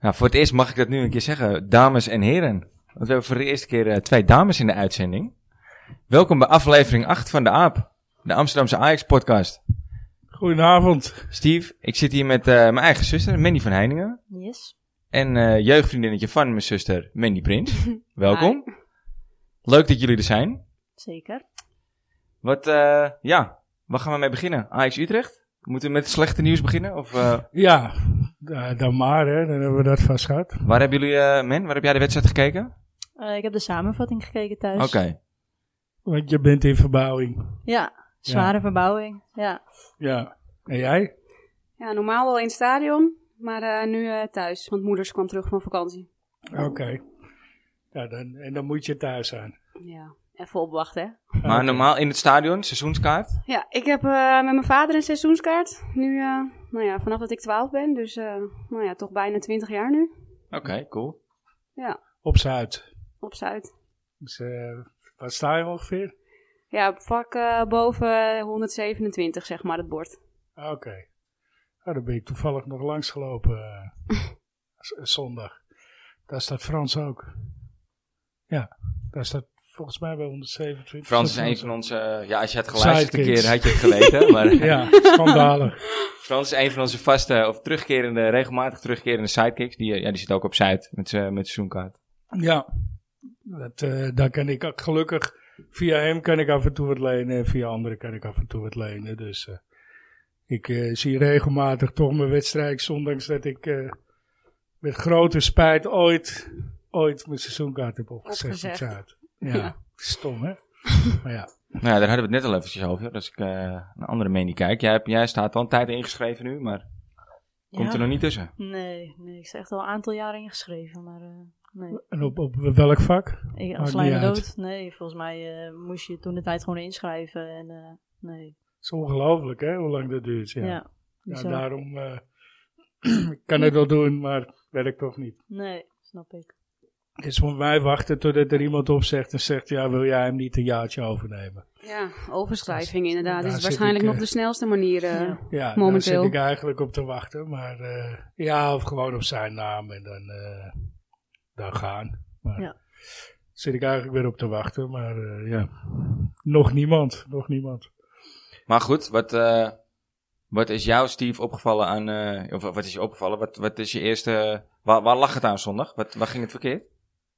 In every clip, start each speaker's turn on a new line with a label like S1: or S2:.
S1: Nou, voor het eerst mag ik dat nu een keer zeggen, dames en heren. Want we hebben voor de eerste keer eh, twee dames in de uitzending. Welkom bij aflevering 8 van de AAP, de Amsterdamse Ajax-podcast.
S2: Goedenavond.
S1: Steve, ik zit hier met eh, mijn eigen zuster, Mandy van Heiningen.
S3: Yes.
S1: En eh, jeugdvriendinnetje van mijn zuster, Mandy Prins. Welkom. Leuk dat jullie er zijn.
S3: Zeker.
S1: Wat, eh, ja, waar gaan we mee beginnen? Ajax Utrecht? Moeten we met het slechte nieuws beginnen? Of eh,
S2: Ja, da- dan maar, hè. dan hebben we dat vast gehad.
S1: waar hebben jullie, eh Men, waar heb jij de wedstrijd gekeken?
S3: Eh, ik heb de samenvatting gekeken thuis.
S1: Oké.
S2: Want je bent in verbouwing.
S3: Ja, zware verbouwing. Ja.
S2: Ja. En jij?
S4: Ja, normaal wel in het stadion, maar eh, nu eh, thuis, want moeders kwam terug van vakantie.
S2: Oké. Ja, dan, en dan moet je thuis zijn.
S4: Ja, even opwachten, hè.
S1: Maar normaal in het stadion, seizoenskaart?
S4: Ja, ik heb eh, met mijn vader een seizoenskaart. Nu, eh, nou ja, vanaf dat ik 12 ben, dus eh, nou ja, toch bijna 20 jaar nu,
S1: Oké, cool.
S2: Op Zuid.
S4: op Zuid.
S2: Dus, eh, wat sta je ongeveer?
S4: Ja, op vak eh, boven 127, zeg maar, het bord.
S2: Oké. Nou, daar ben ik toevallig nog langs gelopen. eh, z- zondag. Daar staat Frans ook. Ja, daar staat volgens mij bij 127.
S1: Frans is een
S2: eens
S1: van onze... eh, Ja, als je het geluisterd een
S2: Sidekicks.
S1: keer, had je het geweten. Maar
S2: Ja, schandalig.
S1: Frans is een van onze vaste, of terugkerende, regelmatig terugkerende sidekicks. Die, eh, ja, die zit ook op Zuid met zijn met seizoenkaart.
S2: Ja, dat, eh, daar kan ik ook gelukkig. Via hem kan ik af en toe wat lenen en via anderen kan ik af en toe wat lenen. Dus eh, ik eh, zie regelmatig toch mijn wedstrijd, ondanks dat ik eh, met grote spijt ooit, ooit mijn seizoenkaart heb opgezegd.
S4: Opgezegd.
S2: op Zuid. Ja, stom hè? maar ja,
S1: Nou ja, daar hadden we het net al eventjes over. Dat ik eh, een andere mening kijk. Jij, hebt- jij staat al een tijd ingeschreven nu, maar komt
S3: Ja.
S1: er nog niet tussen.
S3: Nee, nee, ik sta echt al een aantal jaren ingeschreven, maar eh, nee.
S2: en op, op welk vak?
S3: Ik,
S2: Maakt
S3: als lijme
S2: niet uit.
S3: dood, nee, volgens mij eh, moest je toen de tijd gewoon inschrijven en eh, nee.
S2: Het is ongelooflijk hè, hoe lang dat duurt. Ja,
S3: Ja.
S2: ja,
S3: bizar.
S2: daarom eh, ik kan het wel doen, maar werkt toch niet.
S3: Nee, snap ik.
S2: Dus moeten wij wachten totdat er iemand op zegt en zegt: Ja, wil jij hem niet een jaartje overnemen?
S4: Ja, overschrijving inderdaad.
S2: Daar
S4: Dat is
S2: zit
S4: waarschijnlijk
S2: ik, eh,
S4: nog de snelste manier. eh.
S3: Ja.
S2: Ja,
S4: Momenteel.
S2: daar zit ik eigenlijk op te wachten. Maar eh, ja, of gewoon op zijn naam en dan, eh, dan gaan. Maar
S3: Ja.
S2: zit ik eigenlijk weer op te wachten. Maar eh, ja, nog niemand. Nog niemand.
S1: Maar goed, wat, eh, wat is jou, Steve, opgevallen aan... eh, of wat is je opgevallen? Wat, wat is je eerste... Waar, waar lag het aan zondag? Wat, waar ging het verkeerd?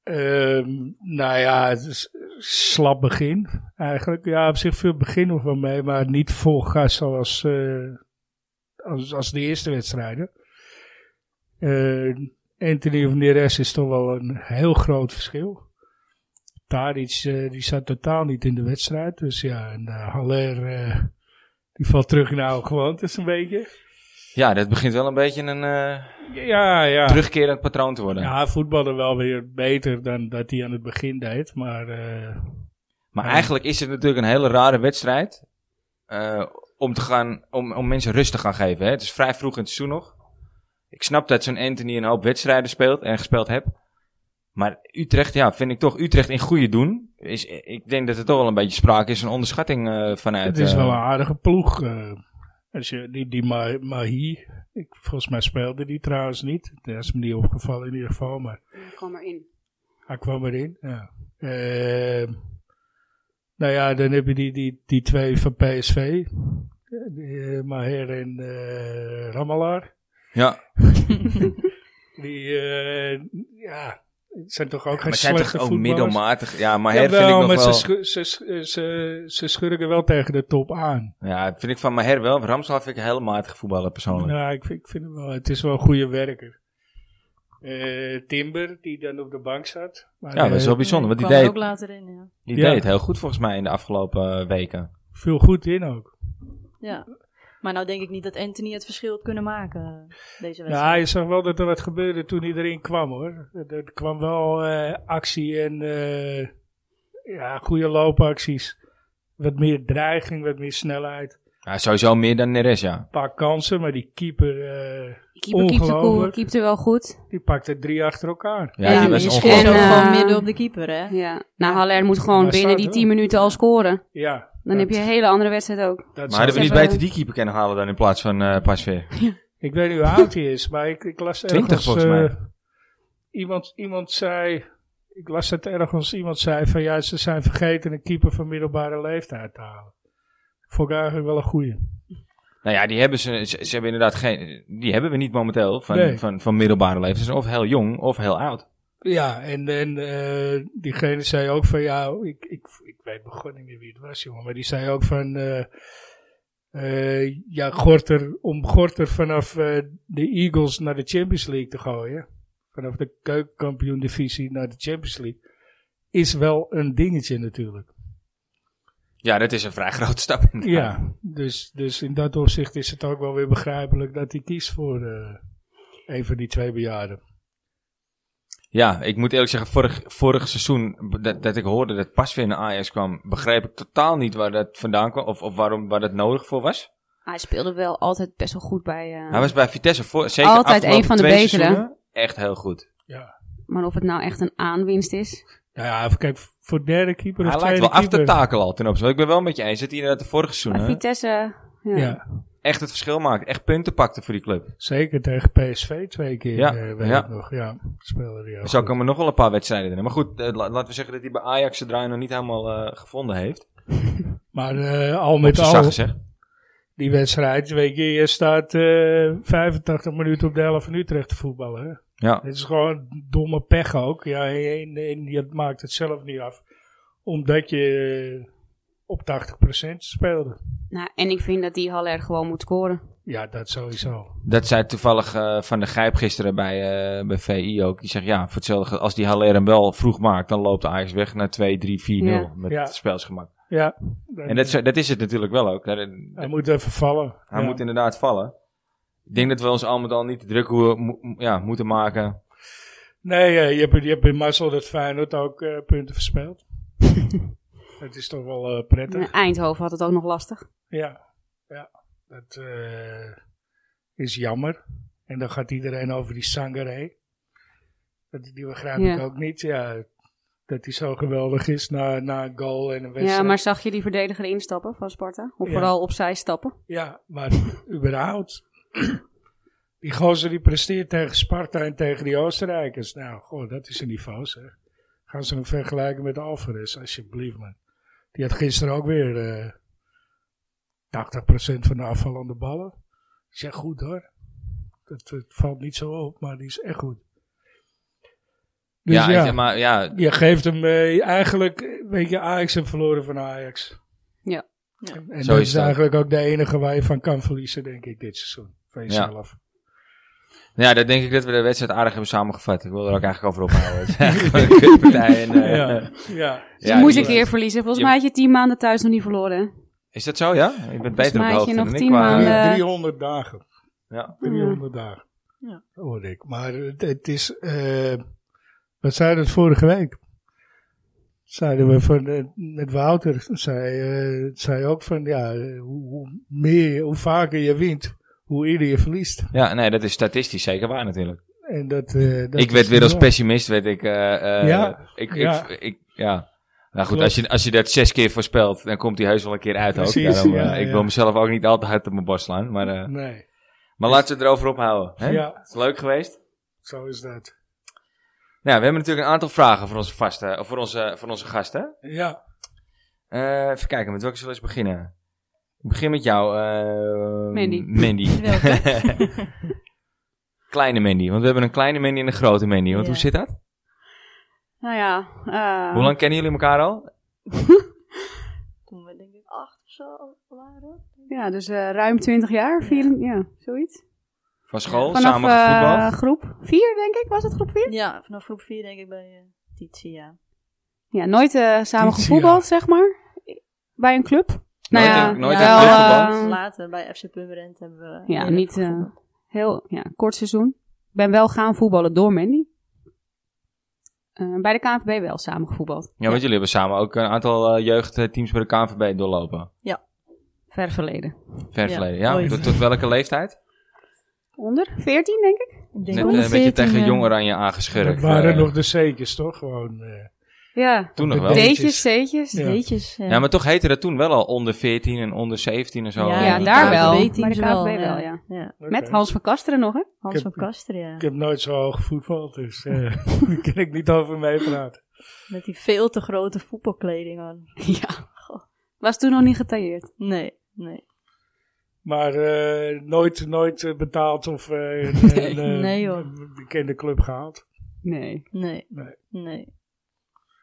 S2: Ehm, nou ja, het is een slap begin eigenlijk. Ja, op zich veel begin nog wel mee, maar niet vol gas zoals eh, als, als de eerste wedstrijden. Eh Anthony of Neres is toch wel een heel groot verschil. Tadic, eh, die zat totaal niet in de wedstrijd. Dus ja, en eh, Haller, eh, die valt terug in de oude gewoontes een beetje.
S1: Ja, dat begint wel een beetje een eh,
S2: Ja, ja.
S1: terugkerend patroon te worden.
S2: Ja, hij voetbalde wel weer beter dan dat hij aan het begin deed. Maar eh,
S1: Maar
S2: Ja.
S1: eigenlijk is het natuurlijk een hele rare wedstrijd. eh, om, te gaan, om, om mensen rust te gaan geven. Hè? Het is vrij vroeg in het seizoen nog. Ik snap dat zo'n Anthony een hoop wedstrijden speelt en gespeeld hebt. Maar Utrecht, ja, vind ik toch Utrecht in goede doen. Is, ik denk dat er toch wel een beetje sprake is van onderschatting eh, vanuit.
S2: Het is
S1: eh,
S2: wel een aardige ploeg. eh. als je, die die Ma- Mahi, ik, volgens mij speelde die trouwens niet. Dat is me niet opgevallen in ieder geval, maar
S4: Ik kwam erin.
S2: hij kwam erin. Ja. Ehm, nou ja, dan heb je die, die, die twee van PSV. Eh, die, eh, Maher en eh Ramallah.
S1: ja,
S2: Die eh, ja, zijn toch ook
S1: maar
S2: geen
S1: zijn
S2: slechte
S1: toch ook
S2: voetballers?
S1: middelmatig. Ja, maar her
S2: Jawel,
S1: vind ik nog
S2: maar
S1: wel.
S2: ze, schu- ze, schu- ze, ze schurken wel tegen de top aan.
S1: Ja, vind ik van Maher wel. Ramsel vind ik een hele matige voetballer persoonlijk.
S2: Ja, Nou, ik vind, ik vind hem wel. Het is wel een goede werker. Eh, Timber, die dan op de bank zat. Maar,
S1: Ja, dat is
S2: eh,
S1: wel bijzonder.
S3: Nee,
S1: Want die
S3: kwam er
S1: deed,
S3: ook later in, ja.
S1: die
S2: Ja.
S1: deed het heel goed volgens mij in de afgelopen eh, weken.
S2: Viel goed in ook.
S3: ja. Maar nou denk ik niet dat Anthony het verschil had kunnen maken, eh, deze wedstrijd.
S2: Ja, je Nou, zag wel dat er wat gebeurde toen hij erin kwam hoor. Er, er kwam wel eh, actie en eh, ja, goede loopacties. Wat meer dreiging, wat meer snelheid.
S1: Ja, sowieso meer dan Neres, ja.
S2: Een paar kansen, maar die keeper eh,
S4: Keeper keepte cool,
S2: Ongelooflijk.
S4: keepte wel goed.
S2: die pakte drie achter elkaar.
S1: Ja, die was
S3: je
S1: ongelooflijk.
S3: schiet ook
S4: En, eh,
S3: gewoon midden op de keeper, hè.
S4: Ja. Nou, Haller moet gewoon
S2: Maar
S4: binnen
S2: staat
S4: die
S2: wel.
S4: 10 minuten al scoren.
S2: Ja,
S4: Dan heb je een hele andere wedstrijd ook.
S1: Maar hadden we niet
S4: Ze hebben-
S1: beter die keeper kunnen halen dan in plaats van eh Pasveer?
S2: Ik weet niet hoe oud hij is, maar ik, ik las ergens...
S1: 20 volgens
S2: eh,
S1: mij.
S2: iemand, iemand zei, ik las het ergens, iemand zei van ja, ze zijn vergeten een keeper van middelbare leeftijd te halen. Vond ik eigenlijk wel een goeie.
S1: Nou ja, die hebben ze, ze, ze hebben inderdaad geen, die hebben we niet momenteel van,
S2: Nee.
S1: van, van middelbare leeftijd. Ze zijn of heel jong of heel oud.
S2: Ja, en, en eh, diegene zei ook van ja, ik, ik, ik weet begon niet meer wie het was, jongen, maar die zei ook van eh, eh, ja, Gorter, om Gorter vanaf eh, de Eagles naar de Champions League te gooien, vanaf de keukenkampioen divisie naar de Champions League, is wel een dingetje natuurlijk.
S1: Ja, dat is een vrij grote stap.
S2: Ja, dus, dus in dat opzicht is het ook wel weer begrijpelijk dat hij kiest voor eh, een van die twee bejaarden.
S1: Ja, ik moet eerlijk zeggen, vorig, vorig seizoen b- dat, dat ik hoorde dat Pasveer naar Ajax kwam, begreep ik totaal niet waar dat vandaan kwam of, of waarom, waar dat nodig voor was.
S4: Hij speelde wel altijd best wel goed bij... eh,
S1: Hij was bij Vitesse voor, zeker
S4: Altijd
S1: afgelopen
S4: een van de
S1: twee
S4: betere.
S1: seizoenen Echt heel goed.
S4: Maar of het nou echt een aanwinst is...
S2: Nou ja, even kijken, voor derde keeper of
S1: Hij lijkt
S2: tweede
S1: wel af te
S2: keeper.
S1: takelen al ten opzichte. Ik ben wel met je eens dat hij inderdaad de vorige
S4: Maar
S1: seizoen
S4: Vitesse... Ja.
S2: Ja.
S1: echt het verschil maakt. Echt punten pakte voor die club.
S2: Zeker tegen PSV twee keer,
S1: Ja,
S2: ja, weet
S1: ja.
S2: ik nog. Ja, speelde die ook
S1: Zo
S2: goed.
S1: komen nog wel een paar wedstrijden erin. Maar goed, eh, la- laten we zeggen dat hij bij Ajax de draai nog niet helemaal eh, gevonden heeft.
S2: Maar eh, al
S1: Met
S2: met
S1: zag
S2: al,
S1: gezegd.
S2: die wedstrijd, weet je, je staat eh 85 minuten op de helft van Utrecht te voetballen. Hè?
S1: Ja.
S2: Dit is gewoon domme pech ook. Ja, en, en je maakt het zelf niet af, omdat je eh, op 80% speelde.
S4: Nou, en ik vind dat die Haller gewoon moet scoren.
S2: Ja, dat sowieso.
S1: Dat zei toevallig eh, Van de Gijp gisteren bij, eh, bij VI ook. Die zegt, ja, voor hetzelfde, geld, als die Haller hem wel vroeg maakt, dan loopt Ajax weg naar 2, 3, 4-0
S4: Ja.
S1: met
S2: Ja.
S1: het spelsgemak.
S2: Ja,
S1: En dat, is- dat is het natuurlijk wel ook. Daar-
S2: hij moet even vallen.
S1: hij
S2: Ja.
S1: moet inderdaad vallen. Ik denk dat we ons al met al niet te druk hoe- mo- ja, moeten maken.
S2: Nee, eh, je, hebt, je hebt in Marcel dat Feyenoord ook eh, punten verspeeld. Het is toch wel eh, prettig.
S4: En Eindhoven had het ook nog lastig.
S2: Ja, ja. dat eh, is jammer. En dan gaat iedereen over die Sangaré. Dat, die begrijp
S4: Ja.
S2: ik ook niet. Ja, dat hij zo geweldig is na, na een goal en een wedstrijd.
S4: Ja, maar zag je die verdediger instappen van Sparta? Of
S2: Ja.
S4: vooral opzij stappen?
S2: Ja, maar überhaupt. Die gozer die presteert tegen Sparta en tegen die Oostenrijkers. Nou, goh, dat is een niveau zeg. Gaan ze hem vergelijken met Alvarez, alsjeblieft man. Die had gisteren ook weer eh 80% van de afvallende ballen. Is echt goed hoor. Het, het valt niet zo op, maar die is echt goed. Dus ja,
S1: ja, ik- maar ja,
S2: je geeft hem eh, eigenlijk, weet je, Ajax heeft verloren van Ajax.
S4: Ja.
S3: Ja.
S2: En, en
S1: Zo
S2: dat
S1: is
S2: is
S1: dat.
S2: eigenlijk ook de enige waar je van kan verliezen, denk ik, dit seizoen. Van jezelf.
S1: Ja, dat denk ik dat we de wedstrijd aardig hebben samengevat. Ik wil er ook eigenlijk over ophouden. Het is eigenlijk een kutpartij. En, eh,
S2: ja. ja.
S4: Dus
S1: Ja,
S4: moest
S1: die-
S4: ik weer verliezen. Volgens
S1: je-
S4: mij had je tien maanden thuis nog niet verloren. hè?
S1: Is dat zo, ja? Ik ben beter op
S4: mij
S1: de
S4: had
S1: hoogte
S4: je nog
S1: dan ik.
S4: tien
S1: qua-
S4: maanden.
S2: Drie-
S4: eh,
S2: 300 dagen.
S1: Ja.
S2: 300 dagen.
S3: Ja.
S2: Dat hoorde ik. Maar het, het is, eh, wat zeiden we het vorige week? Zeiden we van, eh, met Wouter, zei, eh, zei ook van, ja, eh, hoe, hoe meer, hoe vaker je wint, hoe eerder je verliest.
S1: ja, nee, dat is statistisch zeker waar natuurlijk.
S2: En dat, eh, dat
S1: ik werd
S2: is
S1: weer als
S2: wel-
S1: pessimist, werd ik... eh, eh,
S2: Ja,
S1: Ik, ik,
S2: ja.
S1: ik, ja. Nou goed,
S2: Klopt.
S1: als je, als je dat zes keer voorspelt, dan komt die heus wel een keer uit
S2: Precies,
S1: ook. Daarom, eh,
S2: ja,
S1: ik
S2: ja.
S1: wil mezelf ook niet al te hard op mijn borst slaan. Maar, eh,
S2: Nee,
S1: maar laten we het erover ophouden. Hè?
S2: Ja.
S1: Is het leuk geweest?
S2: zo is dat.
S1: Nou, we hebben natuurlijk een aantal vragen voor onze, vaste, of voor onze, voor onze gasten.
S2: Ja.
S1: Eh, even kijken, met welke zullen we eens beginnen? Ik begin met jou, eh,
S4: Mandy.
S1: Mandy. kleine Mandy, want we hebben een kleine Mandy en een grote Mandy. Want
S3: Ja.
S1: hoe zit dat?
S4: Nou ja. eh,
S1: Hoe lang kennen jullie elkaar al?
S3: Toen we denk ik acht of zo waren.
S4: Ja, dus eh, ruim twintig jaar. Vier, ja, zoiets.
S1: Van school,
S4: Vanaf
S1: samen gevoetbald?
S4: eh, groep vier, denk ik. Was het groep vier?
S3: Ja, vanaf groep 4 denk ik bij eh Titia. ja.
S4: Ja, nooit eh, samen
S2: Iets,
S4: gevoetbald, zeg maar. Bij een club.
S1: Nooit
S4: nou ja,
S1: in- nooit
S3: in
S4: wel,
S1: clubverband?
S4: eh,
S3: Later bij FC Purmerend hebben we...
S4: ja,
S3: eerder
S4: niet eh,
S3: gevoetbald.
S4: heel ja, kort seizoen. Ik ben wel gaan voetballen door Mandy. Eh, bij de KNVB wel samen gevoetbald.
S1: Ja, want jullie hebben samen ook een aantal eh, jeugdteams bij de KNVB doorlopen.
S4: Ver verleden.
S1: Ver
S3: Ja,
S1: verleden, ja.
S3: ooit.
S1: Tot, tot welke leeftijd?
S4: Onder? 14, denk ik.
S3: Ik denk
S1: Net
S3: wel
S1: eh, een beetje
S3: 14,
S1: tegen
S3: eh,
S1: Jong Oranje
S2: Dat
S1: aangeschurkt.
S2: waren
S1: eh.
S2: nog de zeker's, toch? Gewoon, eh,
S4: Ja.
S1: Toen nog
S2: de
S1: wel.
S2: date.
S4: D'tjes, C'tjes.
S2: Ja.
S3: Weetjes. Ja.
S1: Ja, maar toch heette dat toen wel al onder 14 en onder 17 en zo.
S4: Ja,
S1: En die
S4: daar
S1: tijd.
S4: wel.
S3: KNVB-teams
S4: Maar de KNVB wel, ja. Met
S2: Oké.
S4: Hans van Kasteren nog, hè?
S3: Hans
S2: Ik
S3: van
S2: heb-
S3: Kasteren, ja.
S2: Ik heb nooit zo hoog voetbal, dus eh, daar kan ik niet over meepraten.
S3: Met die veel te grote voetbalkleding aan.
S4: Ja. Was toen nog niet getailleerd.
S3: Nee, nee.
S2: Maar eh, nooit, nooit eh, betaald of eh een, een, eh,
S3: Nee, joh.
S2: een bekende club gehaald.
S4: Nee.
S3: Nee,
S2: Nee.
S3: nee.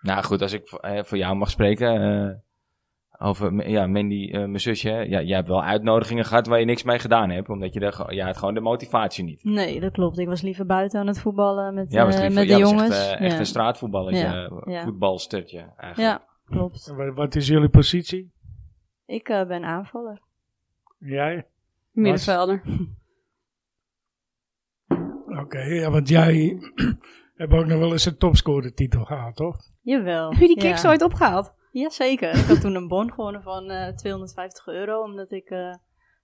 S1: Nou goed, als ik voor, eh, voor jou mag spreken. eh, over m- ja, Mandy, eh, mijn zusje. hè. Ja, jij hebt wel uitnodigingen gehad waar je niks mee gedaan hebt. Omdat je er, ge- ja, het gewoon de motivatie niet.
S3: Nee, dat klopt. Ik was liever buiten aan het voetballen met,
S1: Ja, was
S3: eh,
S1: liever-
S3: met de
S1: ja, was
S3: jongens.
S1: Echt, eh, echt een straatvoetballer.
S3: Ja, ja.
S1: Voetbalstertje eigenlijk.
S3: ja. ja, klopt.
S2: En wa- wat is jullie positie?
S3: Ik eh, ben aanvaller.
S2: Jij?
S4: Middenvelder.
S2: Oké, ja, want jij hebt ook nog wel eens een topscorer-titel gehaald, toch?
S3: Jawel.
S4: Heb je die kicks
S3: ja.
S4: ooit opgehaald?
S3: Jazeker. Ik had toen een bon gewonnen van eh, 250 euro, omdat ik eh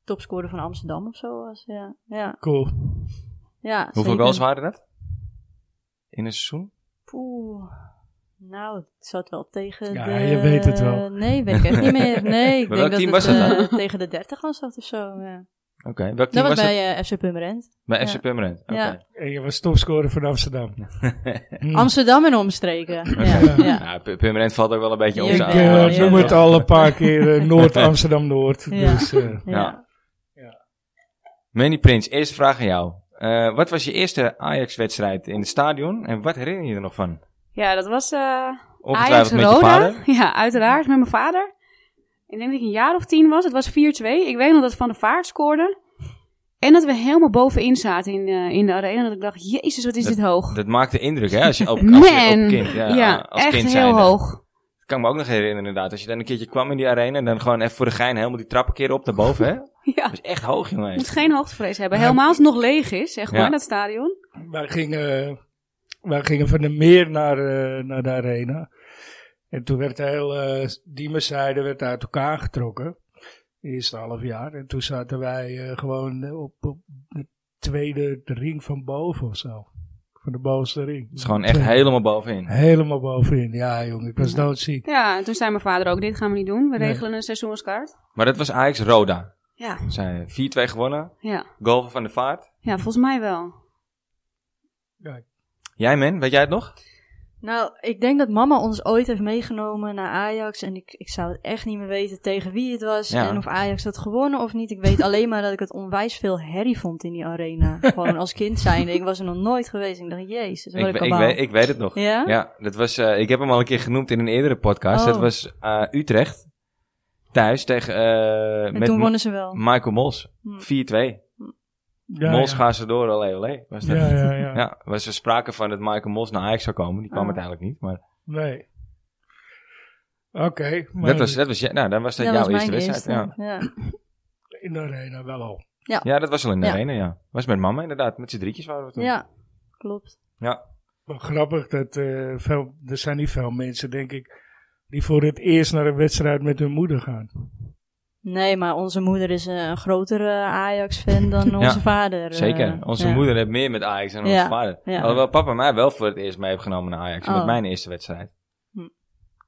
S3: topscorer van Amsterdam of zo was. Ja, ja,
S2: Cool.
S3: ja
S1: Hoeveel
S3: zeker.
S1: goals waren dat? In een seizoen?
S3: Poeh. Nou, het zat wel tegen
S2: Ja,
S3: de...
S2: je weet het wel.
S3: Nee, weet ik echt niet meer. Nee, ik
S1: Maar
S3: denk
S1: welk team
S3: dat het
S1: was dat
S3: eh, tegen de 30 aan zat of zo. Ja.
S1: Oké, welk team
S3: Dat was
S1: was
S3: bij
S1: het?
S3: eh, FC Purmerend.
S1: Bij
S3: ja.
S1: FC Permanent. Oké.
S3: Ja.
S2: En je was topscorer van Amsterdam. Hm.
S3: Amsterdam en omstreken. Ja,
S2: Ja.
S3: ja.
S1: Nou, P- Permanent valt ook wel een beetje om
S2: Ik
S1: zijn
S3: Ja,
S2: eh,
S3: ja,
S1: oude-
S3: ja.
S2: noem het al een paar keer eh, Noord-Amsterdam-Noord.
S3: Ja.
S2: Dus, eh,
S1: Ja.
S3: ja.
S1: Manny Prins, eerste vraag aan jou. Eh, wat was je eerste Ajax-wedstrijd in het stadion en wat herinner je er nog van?
S4: Ja, dat was eh Ajax
S1: Ongetwijfeld met je
S4: Roda.
S1: vader.
S4: Ja, uiteraard. Met mijn vader. Ik denk dat ik een jaar of tien was. Het was 4-2. Ik weet nog dat Van der Vaart scoorde. En dat we helemaal bovenin zaten in, eh, in de arena. Dat ik dacht, jezus, wat is dit hoog.
S1: Dat maakte indruk, hè? Als je op, als je op
S4: Man.
S1: kind, ja, als
S4: echt
S1: kind
S4: heel
S1: zijnde.
S4: hoog.
S1: Dat kan ik me ook nog herinneren, inderdaad. Als je dan een keertje kwam in die arena en dan gewoon even voor de gein helemaal die trappen keer op naar boven, hè? Dat
S4: Ja,
S1: is echt hoog, jongen.
S4: je moet geen hoogtevrees hebben. Helemaal als het nog leeg is, zeg maar,
S1: Ja.
S4: dat stadion.
S2: wij, gingen, eh, wij gingen van de meer naar, eh, naar de arena. En toen werd heel eh Diemerzijde werd uit elkaar getrokken. Eerste half jaar. En toen zaten wij eh, gewoon op, op de tweede ring van boven of zo. Van de bovenste ring.
S1: Het is gewoon echt helemaal bovenin.
S2: Helemaal bovenin. Ja, jongen, ik was doodziek.
S4: Ja, en toen zei mijn vader ook, dit gaan we niet doen. We
S2: Nee.
S4: regelen een seizoenskaart.
S1: Maar dat was Ajax Roda.
S4: Ja,
S1: Zij 4-2 gewonnen,
S4: ja.
S1: goal van Van de Vaart.
S4: Ja, volgens mij wel.
S1: Jij, man, weet jij het nog?
S3: Nou, ik denk dat mama ons ooit heeft meegenomen naar Ajax. En ik, ik zou het echt niet meer weten tegen wie het was.
S1: Ja.
S3: En of Ajax had gewonnen of niet. Ik weet alleen maar dat ik het onwijs veel herrie vond in die arena. Gewoon als kind zijnde. Ik was er nog nooit geweest. Ik dacht, jezus, wat
S1: Ik,
S3: een
S1: we- ik,
S3: kabaal.
S1: weet, ik weet het nog.
S3: Ja?
S1: Ja, dat was, eh, ik heb hem al een keer genoemd in een eerdere podcast.
S3: Oh.
S1: Dat was eh, Utrecht. Thuis tegen eh,
S3: En
S1: met
S3: toen
S1: M-
S3: wonnen ze wel.
S1: Michael Mols. 4-2.
S3: Hm.
S2: Ja,
S1: Mols
S2: ja.
S1: gaan ze door, olé olé. Was dat?
S2: Ja,
S1: Ja,
S2: ja, ja.
S1: was er sprake van dat Michael Mols naar Ajax zou komen. Die kwam
S3: Ah.
S1: uiteindelijk niet. Maar
S2: Nee. Oké, maar
S1: dat was, dat was, ja, nou, dan was dat,
S3: Dat
S1: jouw
S3: was mijn
S1: eerste wedstrijd. Ja.
S3: eerste, Ja.
S2: in de arena wel al.
S1: ja, dat was al in de
S3: Ja.
S1: arena, ja. Was met mama inderdaad. Met z'n drietjes waren we toen.
S3: ja, klopt.
S1: Ja.
S2: Wel grappig dat eh, veel, er zijn niet veel mensen, denk ik, die voor het eerst naar een wedstrijd met hun moeder gaan.
S3: Nee, maar onze moeder is eh, een grotere Ajax-fan dan onze vader. eh,
S1: Zeker. Onze
S3: ja.
S1: moeder heeft meer met Ajax dan onze
S3: Ja.
S1: vader.
S3: Ja.
S1: Alhoewel papa mij wel voor het eerst mee heeft genomen naar Ajax.
S3: Oh.
S1: Met mijn eerste wedstrijd.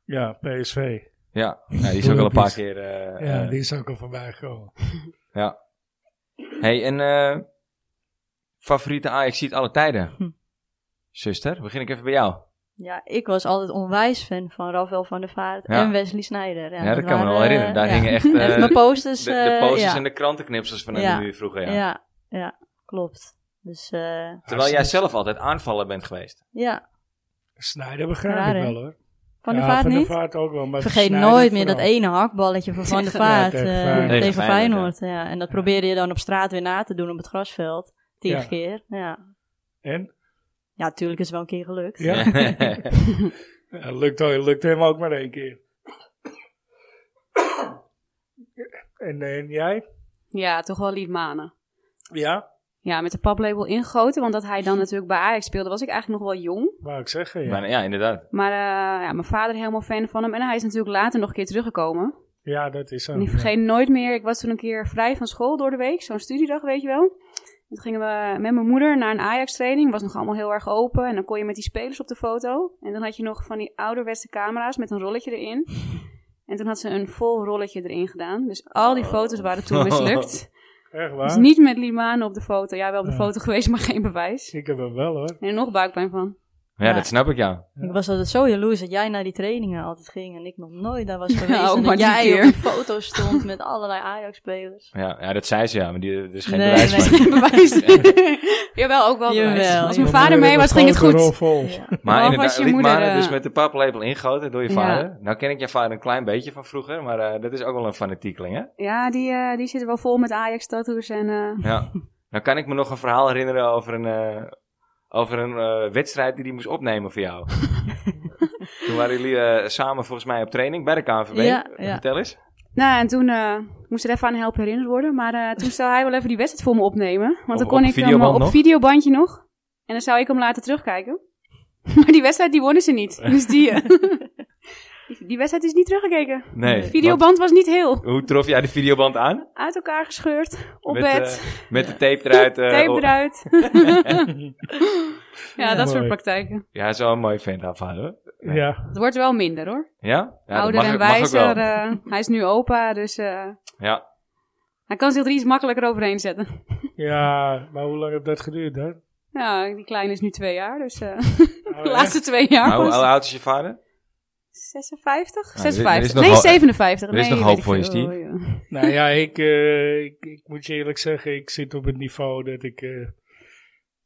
S2: Ja, PSV.
S1: Ja, ja die is ook al een paar
S2: Olympisch.
S1: keer... eh,
S2: ja,
S1: eh,
S2: die is ook al voorbij gekomen.
S1: Ja. hey, en eh, favoriete Ajax ziet alle tijden.
S3: Hm.
S1: Zuster, begin ik even bij jou.
S3: Ja, ik was altijd onwijs fan van Rafael van der Vaart
S1: Ja.
S3: en Wesley Sneijder.
S1: Ja, dat kan me
S3: waren,
S1: wel herinneren.
S3: eh,
S1: Daar
S3: ja.
S1: hingen echt, eh,
S3: Echt mijn posters.
S1: de, de
S3: eh,
S1: posters
S3: ja.
S1: en de krantenknipsels van
S3: Ja.
S1: de muur vroeger, ja.
S3: ja. ja, klopt. Dus eh,
S1: Terwijl jij zelf altijd aanvaller bent geweest.
S3: ja,
S2: Snijder begrijp
S3: Raar,
S2: ik
S3: hè?
S2: wel hoor.
S3: Van der
S2: ja,
S3: Vaart
S2: van
S3: niet.
S2: de vaart ook wel. Maar
S3: Vergeet
S2: Sneijder
S3: nooit meer dat
S2: vooral.
S3: ene hakballetje van Van der
S4: Ja,
S3: Vaart
S2: tegen
S3: eh,
S2: Feyenoord.
S3: tegen,
S1: Tegen Feyenoord,
S3: Feyenoord. Ja. En dat probeerde je dan op straat weer na te doen op het grasveld. Tien
S2: Ja.
S3: keer. Ja.
S2: En?
S3: ja, natuurlijk is het wel een keer gelukt.
S2: Ja, Ja, lukt, al- lukt hem ook maar één keer. en, en jij?
S4: Ja, toch wel liedmanen.
S2: Ja,
S4: Ja, met de paplabel ingegoten, want dat hij dan natuurlijk bij Ajax speelde, was ik eigenlijk nog wel jong.
S2: wou ik zeggen. Ja,
S1: maar, ja, inderdaad.
S4: Maar eh, ja, mijn vader helemaal fan van hem en hij is natuurlijk later nog een keer teruggekomen.
S2: Oh, ja dat is zo.
S4: En ik vergeet nooit meer, ik was toen een keer vrij van school door de week, zo'n studiedag, weet je wel. En Toen gingen we met mijn moeder naar een Ajax-training. Was nog allemaal heel erg open. En dan kon je met die spelers op de foto. En dan had je nog van die ouderwetse camera's met een rolletje erin. En toen had ze een vol rolletje erin gedaan. Dus al die foto's waren toen mislukt.
S2: Echt
S4: Dus
S2: waar?
S4: niet met Limane op de foto. Ja, wel op de
S2: Ja.
S4: foto geweest, maar geen bewijs.
S2: Ik heb hem wel hoor.
S4: En er nog buikpijn van.
S1: Ja, dat snap ik jou.
S3: Ik was altijd zo jaloers dat jij naar die trainingen altijd ging en ik nog nooit daar was geweest.
S4: ook
S3: en
S4: maar
S3: dat
S4: die
S3: jij
S4: keer.
S3: op een foto stond met allerlei Ajax-spelers.
S1: Ja, ja, dat zei ze ja, maar die, er is geen
S3: Nee,
S1: bewijs
S3: nee.
S1: van.
S4: Geen bewijs. Jawel, ook wel bewijs.
S3: Jawel,
S4: Als mijn
S3: jawel.
S4: vader mee was, ging het goed.
S2: Vol.
S3: Ja.
S1: Maar
S4: Of als
S1: inderdaad,
S4: je
S1: Riet
S4: moeder,
S1: Maren
S4: eh,
S1: dus met een paplepel ingoten door je
S4: Ja.
S1: vader. Nou ken ik je vader een klein beetje van vroeger, maar eh, dat is ook wel een fanatiekeling, hè?
S4: Ja, die, eh, die zitten wel vol met Ajax-tattoos en... eh,
S1: Ja. nou kan ik me nog een verhaal herinneren over een, eh, over een eh, wedstrijd die hij moest opnemen voor jou. Toen waren jullie eh, samen volgens mij op training bij de KNVB.
S3: Ja, ja.
S1: Vertel eens.
S4: Nou, en toen eh, moest er even aan helpen herinnerd worden. Maar eh, toen zou hij wel even die wedstrijd voor me opnemen. Want dan
S1: Op-
S4: kon
S1: op
S4: ik hem
S1: videoband
S4: eh, op
S1: nog?
S4: videobandje nog. En dan zou ik hem laten terugkijken. Maar die wedstrijd, die wonnen ze niet. Dus die, eh, die, die wedstrijd is niet teruggekeken.
S1: Nee.
S3: Nee.
S1: want
S4: Videoband was niet heel.
S1: Hoe trof jij de videoband aan?
S4: Uit elkaar gescheurd. Op
S1: met,
S4: bed.
S1: eh, met de tape eruit. eh, oh.
S4: tape
S1: op-
S4: eruit. ja, dat soort
S2: Mooi.
S4: praktijken.
S1: Ja, zo'n mooi vent haar vader. hoor. Nee.
S2: Ja.
S4: Het wordt wel minder hoor.
S1: Ja? ja
S4: Ouder
S1: ik-
S4: en
S1: ook
S4: wijzer.
S1: wel.
S4: eh, hij is nu opa, dus eh,
S1: Ja.
S4: hij kan zich er iets makkelijker overheen zetten.
S2: ja, maar hoe lang heeft dat geduurd dan?
S4: Nou, die kleine is nu twee jaar, dus eh,
S2: Nou,
S4: de laatste twee jaar
S1: Maar hoe,
S4: was
S1: Nou, hoe oud is je vader?
S4: 56?
S1: Ah, er is- er is
S4: 56.
S1: nog
S4: nee,
S1: hoop-
S4: 57.
S1: er is
S4: nee,
S1: nog
S4: weet
S1: hoop
S4: ik
S1: voor je,
S4: veel.
S1: Steve.
S4: Oh, ja.
S2: echt. Nou ja, ik, eh, ik, ik moet je eerlijk zeggen, ik zit op het niveau dat ik eh,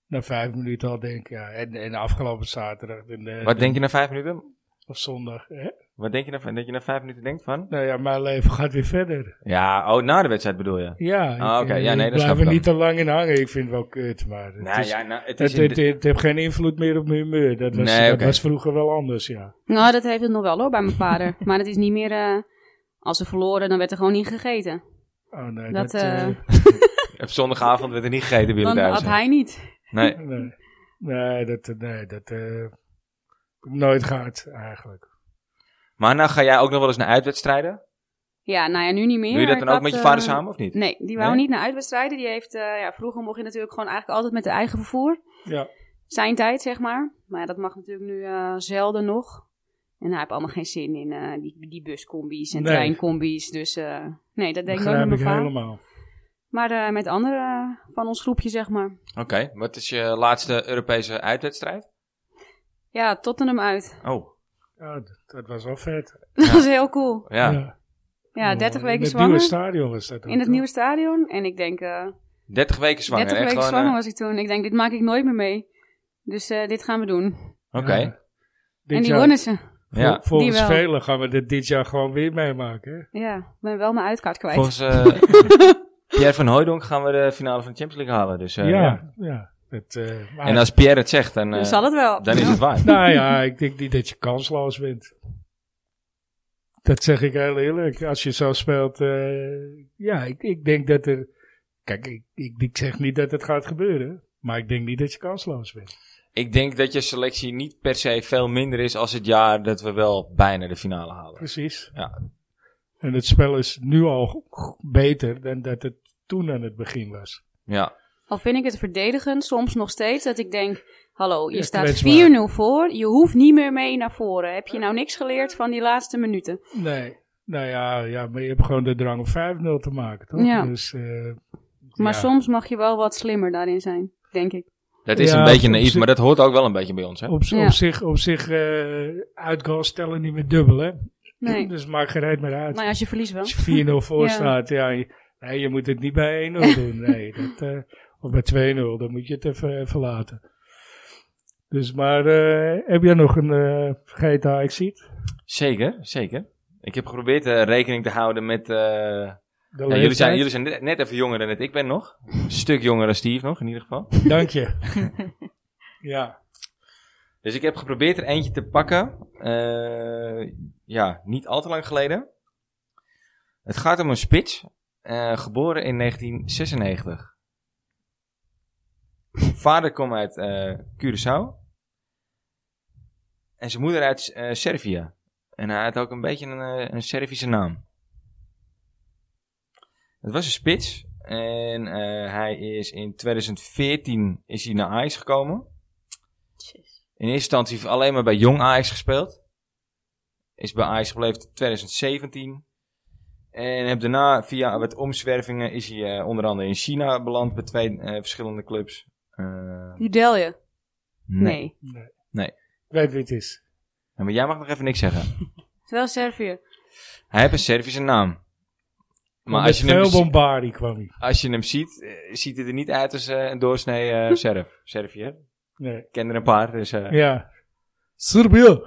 S2: na vijf minuten al denk, ja, en, en afgelopen zaterdag en, eh,
S1: Wat denk je na vijf minuten?
S2: of zondag. Hè?
S1: Wat denk je na, dat je na vijf minuten denkt van?
S2: Nou ja, mijn leven gaat weer verder.
S1: Ja, oh, na de wedstrijd bedoel je?
S2: Ja,
S1: Ah,
S2: ik,
S1: oké.
S2: eh,
S1: Ja, nee,
S2: ik
S1: dat snap ik
S2: blijf er
S1: ook.
S2: niet te lang in hangen. Ik vind het wel kut, maar het,
S1: Nou
S2: is-
S1: ja, nou, het
S2: het,
S1: is
S2: het,
S1: in de-
S2: het heeft geen invloed meer op mijn humeur. Dat was,
S1: Nee,
S2: dat
S1: oké.
S2: was vroeger wel anders, ja.
S4: Nou, dat heeft het nog wel hoor, bij mijn vader. maar het is niet meer... eh, als ze verloren, dan werd er gewoon niet gegeten.
S2: Oh, nee,
S4: Dat,
S2: dat,
S4: eh,
S2: eh,
S1: Op zondagavond werd er niet gegeten bij jullie
S4: Dan
S1: thuis.
S4: had
S1: hè?
S4: hij niet.
S1: Nee.
S2: Nee, nee dat, nee, dat eh, heb ik nooit gehad eigenlijk.
S1: Maar nou ga jij ook nog wel eens naar uitwedstrijden?
S4: Ja, nou ja, nu niet meer.
S1: Doe je dat
S4: Ik
S1: dan ook
S4: had,
S1: met je
S4: eh,
S1: vader samen of niet?
S4: Nee, die wou
S1: Nee?
S4: niet naar uitwedstrijden. Die heeft, eh, ja, vroeger mocht je natuurlijk gewoon eigenlijk altijd met de eigen vervoer.
S2: Ja,
S4: Zijn tijd, zeg maar. Maar ja, dat mag natuurlijk nu eh, zelden nog. En hij heeft allemaal geen zin in eh, die, die buscombi's en
S2: Nee.
S4: treincombi's. Dus eh, nee, dat denk ik nooit
S2: begrijp ik
S4: met mijn vader.
S2: helemaal.
S4: Maar eh, met anderen van ons groepje, zeg maar.
S1: Oké, wat is je laatste Europese uitwedstrijd?
S4: Ja, Tottenham uit.
S1: Oh,
S2: Ja, dat, dat was wel vet.
S4: Dat was heel cool.
S1: ja.
S4: Ja, 30
S2: Oh, In
S4: weken
S2: het nieuwe
S4: zwanger.
S2: stadion was dat ook,
S4: In het
S2: toch?
S4: nieuwe stadion. En ik denk, eh
S1: 30 weken zwanger.
S4: 30
S1: hè?
S4: weken
S1: Gewoon, eh,
S4: zwanger was ik toen. Ik denk, dit maak ik nooit meer mee. Dus eh, dit gaan we doen.
S1: Oké,
S2: Ja. Dit
S4: En die
S2: jaar-
S4: wonnen ze.
S2: vol-
S1: ja.
S2: volgens
S4: Die wel.
S2: velen gaan we dit dit jaar gewoon weer meemaken. hè?
S4: Ja, ik ben wel mijn uitkaart kwijt.
S1: Volgens eh, Pierre van Hooijdonk gaan we de finale van de Champions League halen. Dus, eh,
S2: ja,
S1: ja.
S2: ja. Het, eh, maar-
S1: En als Pierre het zegt, dan, eh,
S4: Dus zal het wel.
S1: dan is het waar.
S2: Nou ja, ik denk niet dat je kansloos bent. Dat zeg ik heel eerlijk. Als je zo speelt, eh, ja, ik, ik denk dat er... Kijk, ik, ik, ik zeg niet dat het gaat gebeuren, maar ik denk niet dat je kansloos bent.
S1: Ik denk dat je selectie niet per se veel minder is als het jaar dat we wel bijna de finale halen.
S2: Precies.
S1: Ja.
S2: En het spel is nu al g- beter dan dat het toen aan het begin was.
S1: Ja,
S4: Al vind ik het verdedigend soms nog steeds dat ik denk... Hallo, je
S2: Ja,
S4: staat
S2: kwetsbaar.
S4: 4-0 voor. Je hoeft niet meer mee naar voren. Heb je nou niks geleerd van die laatste minuten?
S2: Nee, nou ja, ja maar je hebt gewoon de drang om 5-0 te maken, toch?
S4: Ja.
S2: Dus, eh,
S4: Maar
S2: ja.
S4: soms mag je wel wat slimmer daarin zijn, denk ik.
S1: dat is
S2: Ja,
S1: een beetje
S2: op
S1: naïef,
S2: zich-
S1: maar dat hoort ook wel een beetje bij ons. Hè?
S2: Op, z-
S4: Ja.
S2: op zich, op zich eh, uitgoals stellen niet meer dubbel, hè?
S4: Nee.
S2: Dus maak geen reet meer uit.
S4: Nou ja, als je verliest wel.
S2: Als je 4-0 voor
S4: Ja.
S2: staat, ja, je, nee, je moet het niet bij 1-0 doen. Nee, dat, eh, of bij 2-0, dan moet je het even, even laten. Dus, maar eh, heb jij nog een eh vergeten Ajaxiet?
S1: Zeker, zeker. Ik heb geprobeerd eh, rekening te houden met... eh,
S2: De
S1: Ja, jullie zijn,
S2: leeftijd?
S1: jullie zijn net, net even jonger dan het. Ik ben nog. Een stuk jonger dan Steve nog, in ieder geval.
S2: Dank je. ja.
S1: Dus ik heb geprobeerd er eentje te pakken. Eh, ja, niet al te lang geleden. Het gaat om een spits. eh, geboren in 1996. Vader komt uit eh, Curaçao. En zijn moeder uit eh, Servië. En hij had ook een beetje een, eh, een Servische naam. Het was een spits. En eh, hij is in 2014 is hij naar Ajax gekomen.
S3: Jezus.
S1: In eerste instantie alleen maar bij jong Ajax gespeeld. Is bij Ajax gebleven tot 2017. En heb daarna via wat omzwervingen is hij eh, onder andere in China beland bij twee eh, verschillende clubs. Eh,
S4: Judel je? Nee.
S2: Ik weet wie het is.
S1: Ja, maar jij mag nog even niks zeggen.
S4: Het is wel Servië.
S1: Hij heeft een Servische naam. Maar als je, hem,
S2: veel
S1: zi-
S2: bombardie kwam hij.
S1: als je hem ziet, eh, ziet hij er niet uit als eh, een doorsnee eh Serf. Servië. hè? Ik
S2: Nee.
S1: ken er een paar, dus... eh,
S2: Ja. Serbië.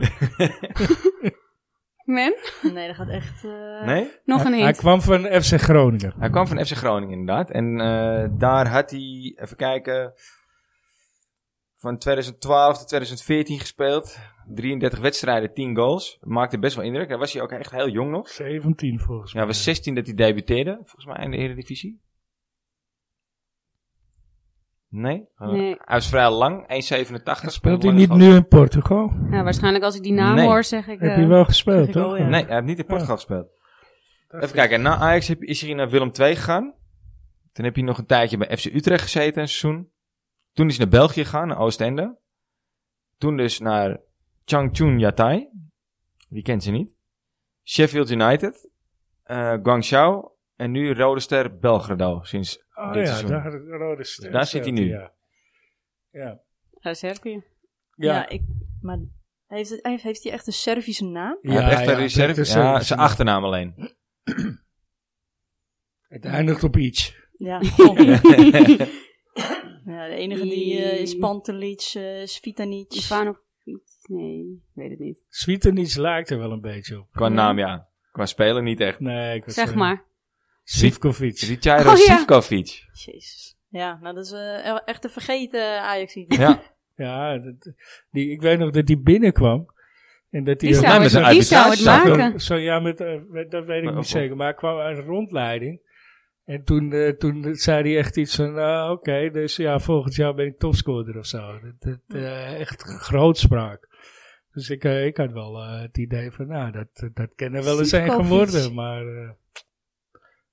S4: Men?
S3: Nee, dat gaat echt... eh,
S1: Nee?
S4: Nog een
S2: Hij, hij
S4: hint.
S2: kwam van FC Groningen.
S1: Hij kwam van FC Groningen inderdaad. En eh, daar had hij, even kijken, van 2012 tot 2014 gespeeld. 33 wedstrijden, 10 goals. Maakte best wel indruk. Daar was hij ook echt heel jong nog.
S2: 17 volgens
S1: Ja,
S2: mij.
S1: hij was 16 dat hij debuteerde, volgens mij, in de Eredivisie. Nee? Eh,
S4: Nee.
S1: Hij was vrij lang, 1,87.
S2: Speelt
S1: speelde
S2: hij
S1: lange
S2: niet
S1: goal.
S2: nu in Portugal?
S4: Nou, waarschijnlijk als ik die naam
S1: Nee.
S4: hoor, zeg ik...
S2: Heb
S4: eh,
S2: je wel gespeeld,
S3: ik wel,
S2: toch?
S3: ja.
S1: Nee, hij heeft niet in Portugal gespeeld. Even kijken, na Ajax heb- is hij naar Willem II gegaan. Toen heb hij nog een tijdje bij FC Utrecht gezeten, een seizoen. Toen is hij naar België gegaan, naar Oostende. Toen dus naar Changchun Yatai. Wie kent ze niet? Sheffield United. eh, Guangzhou. En nu Rode Ster Belgrado. Sinds,
S2: Oh
S1: dit
S2: ja,
S1: seizoen.
S2: daar, rode ster,
S1: Daar zit hij nu.
S2: Ja. Ja.
S4: ja, Servië.
S3: Ja,
S2: Ja.
S3: ik, maar heeft, het, heeft, heeft hij echt een Servische naam?
S1: hij heeft echt een reserve.
S2: dat is
S1: Ja,
S2: een-
S1: zijn achternaam alleen.
S2: Het eindigt op iets.
S3: Ja, ja de enige die eh, is Pantelic, eh Svitanic.
S4: Ivanovic? Nee, ik weet het niet.
S2: Sweetenits lijkt er wel een beetje op.
S1: Qua naam, ja. Qua speler niet echt.
S2: Nee, ik wou
S4: Zeg
S2: zeggen,
S4: maar.
S2: Sivkovic.
S1: Richairo
S4: Oh, ja.
S1: Sivkovic.
S3: Jezus. Ja, nou dat is eh, e- echt een vergeten ajax
S1: Ja.
S2: Ja, dat, die, ik weet nog dat die binnenkwam. En dat die
S4: Die
S1: mij
S4: zou
S1: met
S4: het,
S1: een
S4: die zou het
S1: arbitrage-
S4: maken.
S2: Zo, ja, met, eh, met- dat weet ik
S1: Maar
S2: niet
S1: of-
S2: zeker. Maar hij kwam uit een rondleiding. En toen, eh, toen zei hij echt iets van, ah, oké, dus ja, volgend jaar ben ik topscorer of zo. Dat, dat, eh, echt grootspraak. Dus ik, eh, ik had wel eh, het idee van, nou, dat, dat kan er wel eens een
S4: Sivkovic.
S2: geworden. Maar eh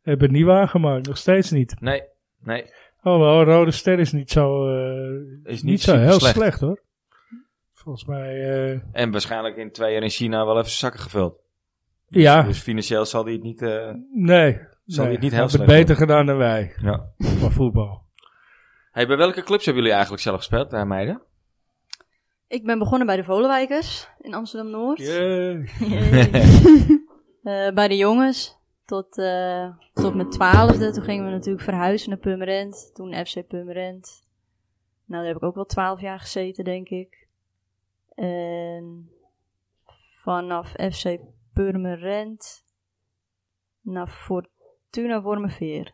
S2: heb het niet waargemaakt, nog steeds niet.
S1: Nee. Nee.
S2: Oh, wel, Rode Ster is niet zo, eh,
S1: Is
S2: niet zo heel
S1: superslecht.
S2: slecht. hoor. Volgens mij, eh,
S1: En waarschijnlijk in twee jaar in China wel even zijn zakken gevuld.
S2: ja.
S1: Dus financieel zal hij het niet... eh,
S2: Nee.
S1: Zal
S2: nee.
S1: dit niet heel
S2: Had het
S1: slecht
S2: beter gedaan dan wij
S1: ja.
S2: van voetbal.
S1: Hey, bij welke clubs hebben jullie eigenlijk zelf gespeeld, eh, meiden?
S3: Ik ben begonnen bij de Volenwijkers in Amsterdam-Noord. Eh, bij de jongens tot, eh, tot mijn twaalfde. Toen gingen we natuurlijk verhuizen naar Purmerend. Toen FC Purmerend. Nou, daar heb ik ook wel twaalf jaar gezeten, denk ik. En vanaf FC Purmerend naar Fortuna Wormerveer.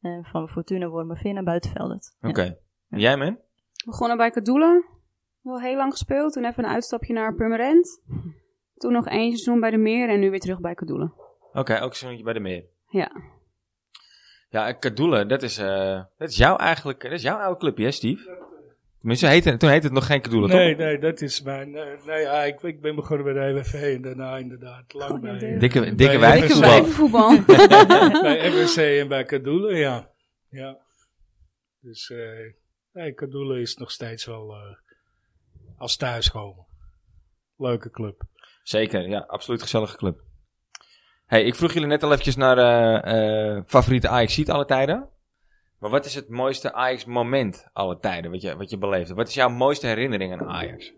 S3: En van Fortuna Wormerveer naar Buitenveldert.
S1: Oké. En Jij, man?
S4: Begonnen bij Kadoula. Wel heel lang gespeeld. Toen even een uitstapje naar Purmerend. Toen nog één seizoen bij de Meer en nu weer terug bij Kadoula.
S1: Oké, ook een zoontje bij de meer.
S4: Ja.
S1: Ja, en Kadoelen, dat is, eh, dat is jouw eigenlijk... Dat is jouw oude clubje, hè, Steve? Tenminste, heette, toen heette het nog geen Kadoelen,
S2: Nee,
S1: toch?
S2: nee, dat is mijn... Nee, nee, ja, ik, ik ben begonnen bij de EWV en daarna inderdaad lang
S4: Oh, ja,
S2: bij,
S4: de-
S1: Dikke, dikke
S2: Nee,
S1: wijf.
S2: dikke
S4: Lekker
S2: wijf.
S4: wijvenvoetbal.
S2: bij MWC en bij Kadoelen, ja. ja. Dus eh nee, Kadoelen is nog steeds wel eh, als thuiskomen. Leuke club.
S1: Zeker, ja. Absoluut gezellige club. Hey, ik vroeg jullie net al eventjes naar eh, eh, favoriete Ajax-seat alle tijden. Maar wat is het mooiste Ajax-moment alle tijden, wat je, wat je beleefde? Wat is jouw mooiste herinnering aan Ajax?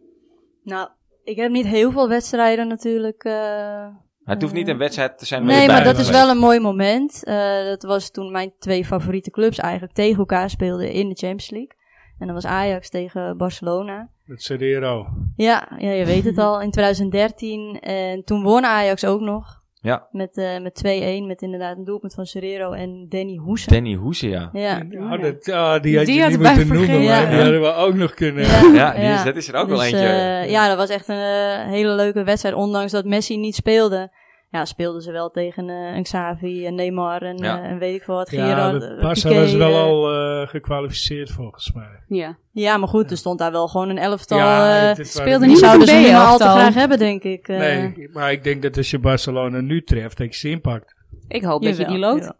S3: Nou, ik heb niet heel veel wedstrijden natuurlijk... eh,
S1: Maar het hoeft niet een wedstrijd te zijn. waar
S3: Nee,
S1: je
S2: bij
S3: maar
S1: bij
S3: dat
S1: bent
S3: is
S2: was.
S1: geweest.
S3: wel een mooi moment. Eh, dat was toen mijn twee favoriete clubs eigenlijk tegen elkaar speelden in de Champions League. En dat was Ajax tegen Barcelona.
S2: Met Serrero.
S3: Ja, ja je weet het al, in 2013. En toen won Ajax ook nog.
S1: Ja.
S3: Met, eh, met 2-1, met inderdaad een doelpunt van Serrero en Danny Hoese.
S1: Danny Hoese, ja.
S3: ja.
S2: Oh, dat, ah, die had
S4: Die
S2: je
S4: had
S2: niet
S4: ik bij
S2: moeten noemen,
S4: vergeten.
S2: maar die
S3: Ja.
S2: hadden we ook nog kunnen...
S1: Ja, die is, dat is er ook wel
S3: Dus,
S1: eentje.
S3: eh, ja, dat was echt een eh, hele leuke wedstrijd. Ondanks dat Messi niet speelde. Ja, speelden ze wel tegen eh, een Xavi en Neymar en,
S1: Ja.
S3: eh, en weet ik veel wat.
S2: Ja,
S3: Gerard,
S2: de
S3: eh,
S2: Barca
S3: Piqué,
S2: was wel
S3: eh,
S2: al eh, gekwalificeerd volgens mij.
S4: ja.
S3: Ja, maar goed, er stond daar wel gewoon een elftal.
S2: Ja,
S3: eh,
S2: het is waar
S4: speelde
S2: het
S3: die
S2: is.
S4: niet met
S3: zouden
S4: een
S3: ze niet meer al te
S4: B-elftal.
S3: graag hebben, denk ik. eh.
S2: Nee, maar ik denk dat als je Barcelona nu treft, dat je ze inpakt.
S4: Ik hoop dat je
S3: Jawel,
S4: die loopt.
S3: jawel.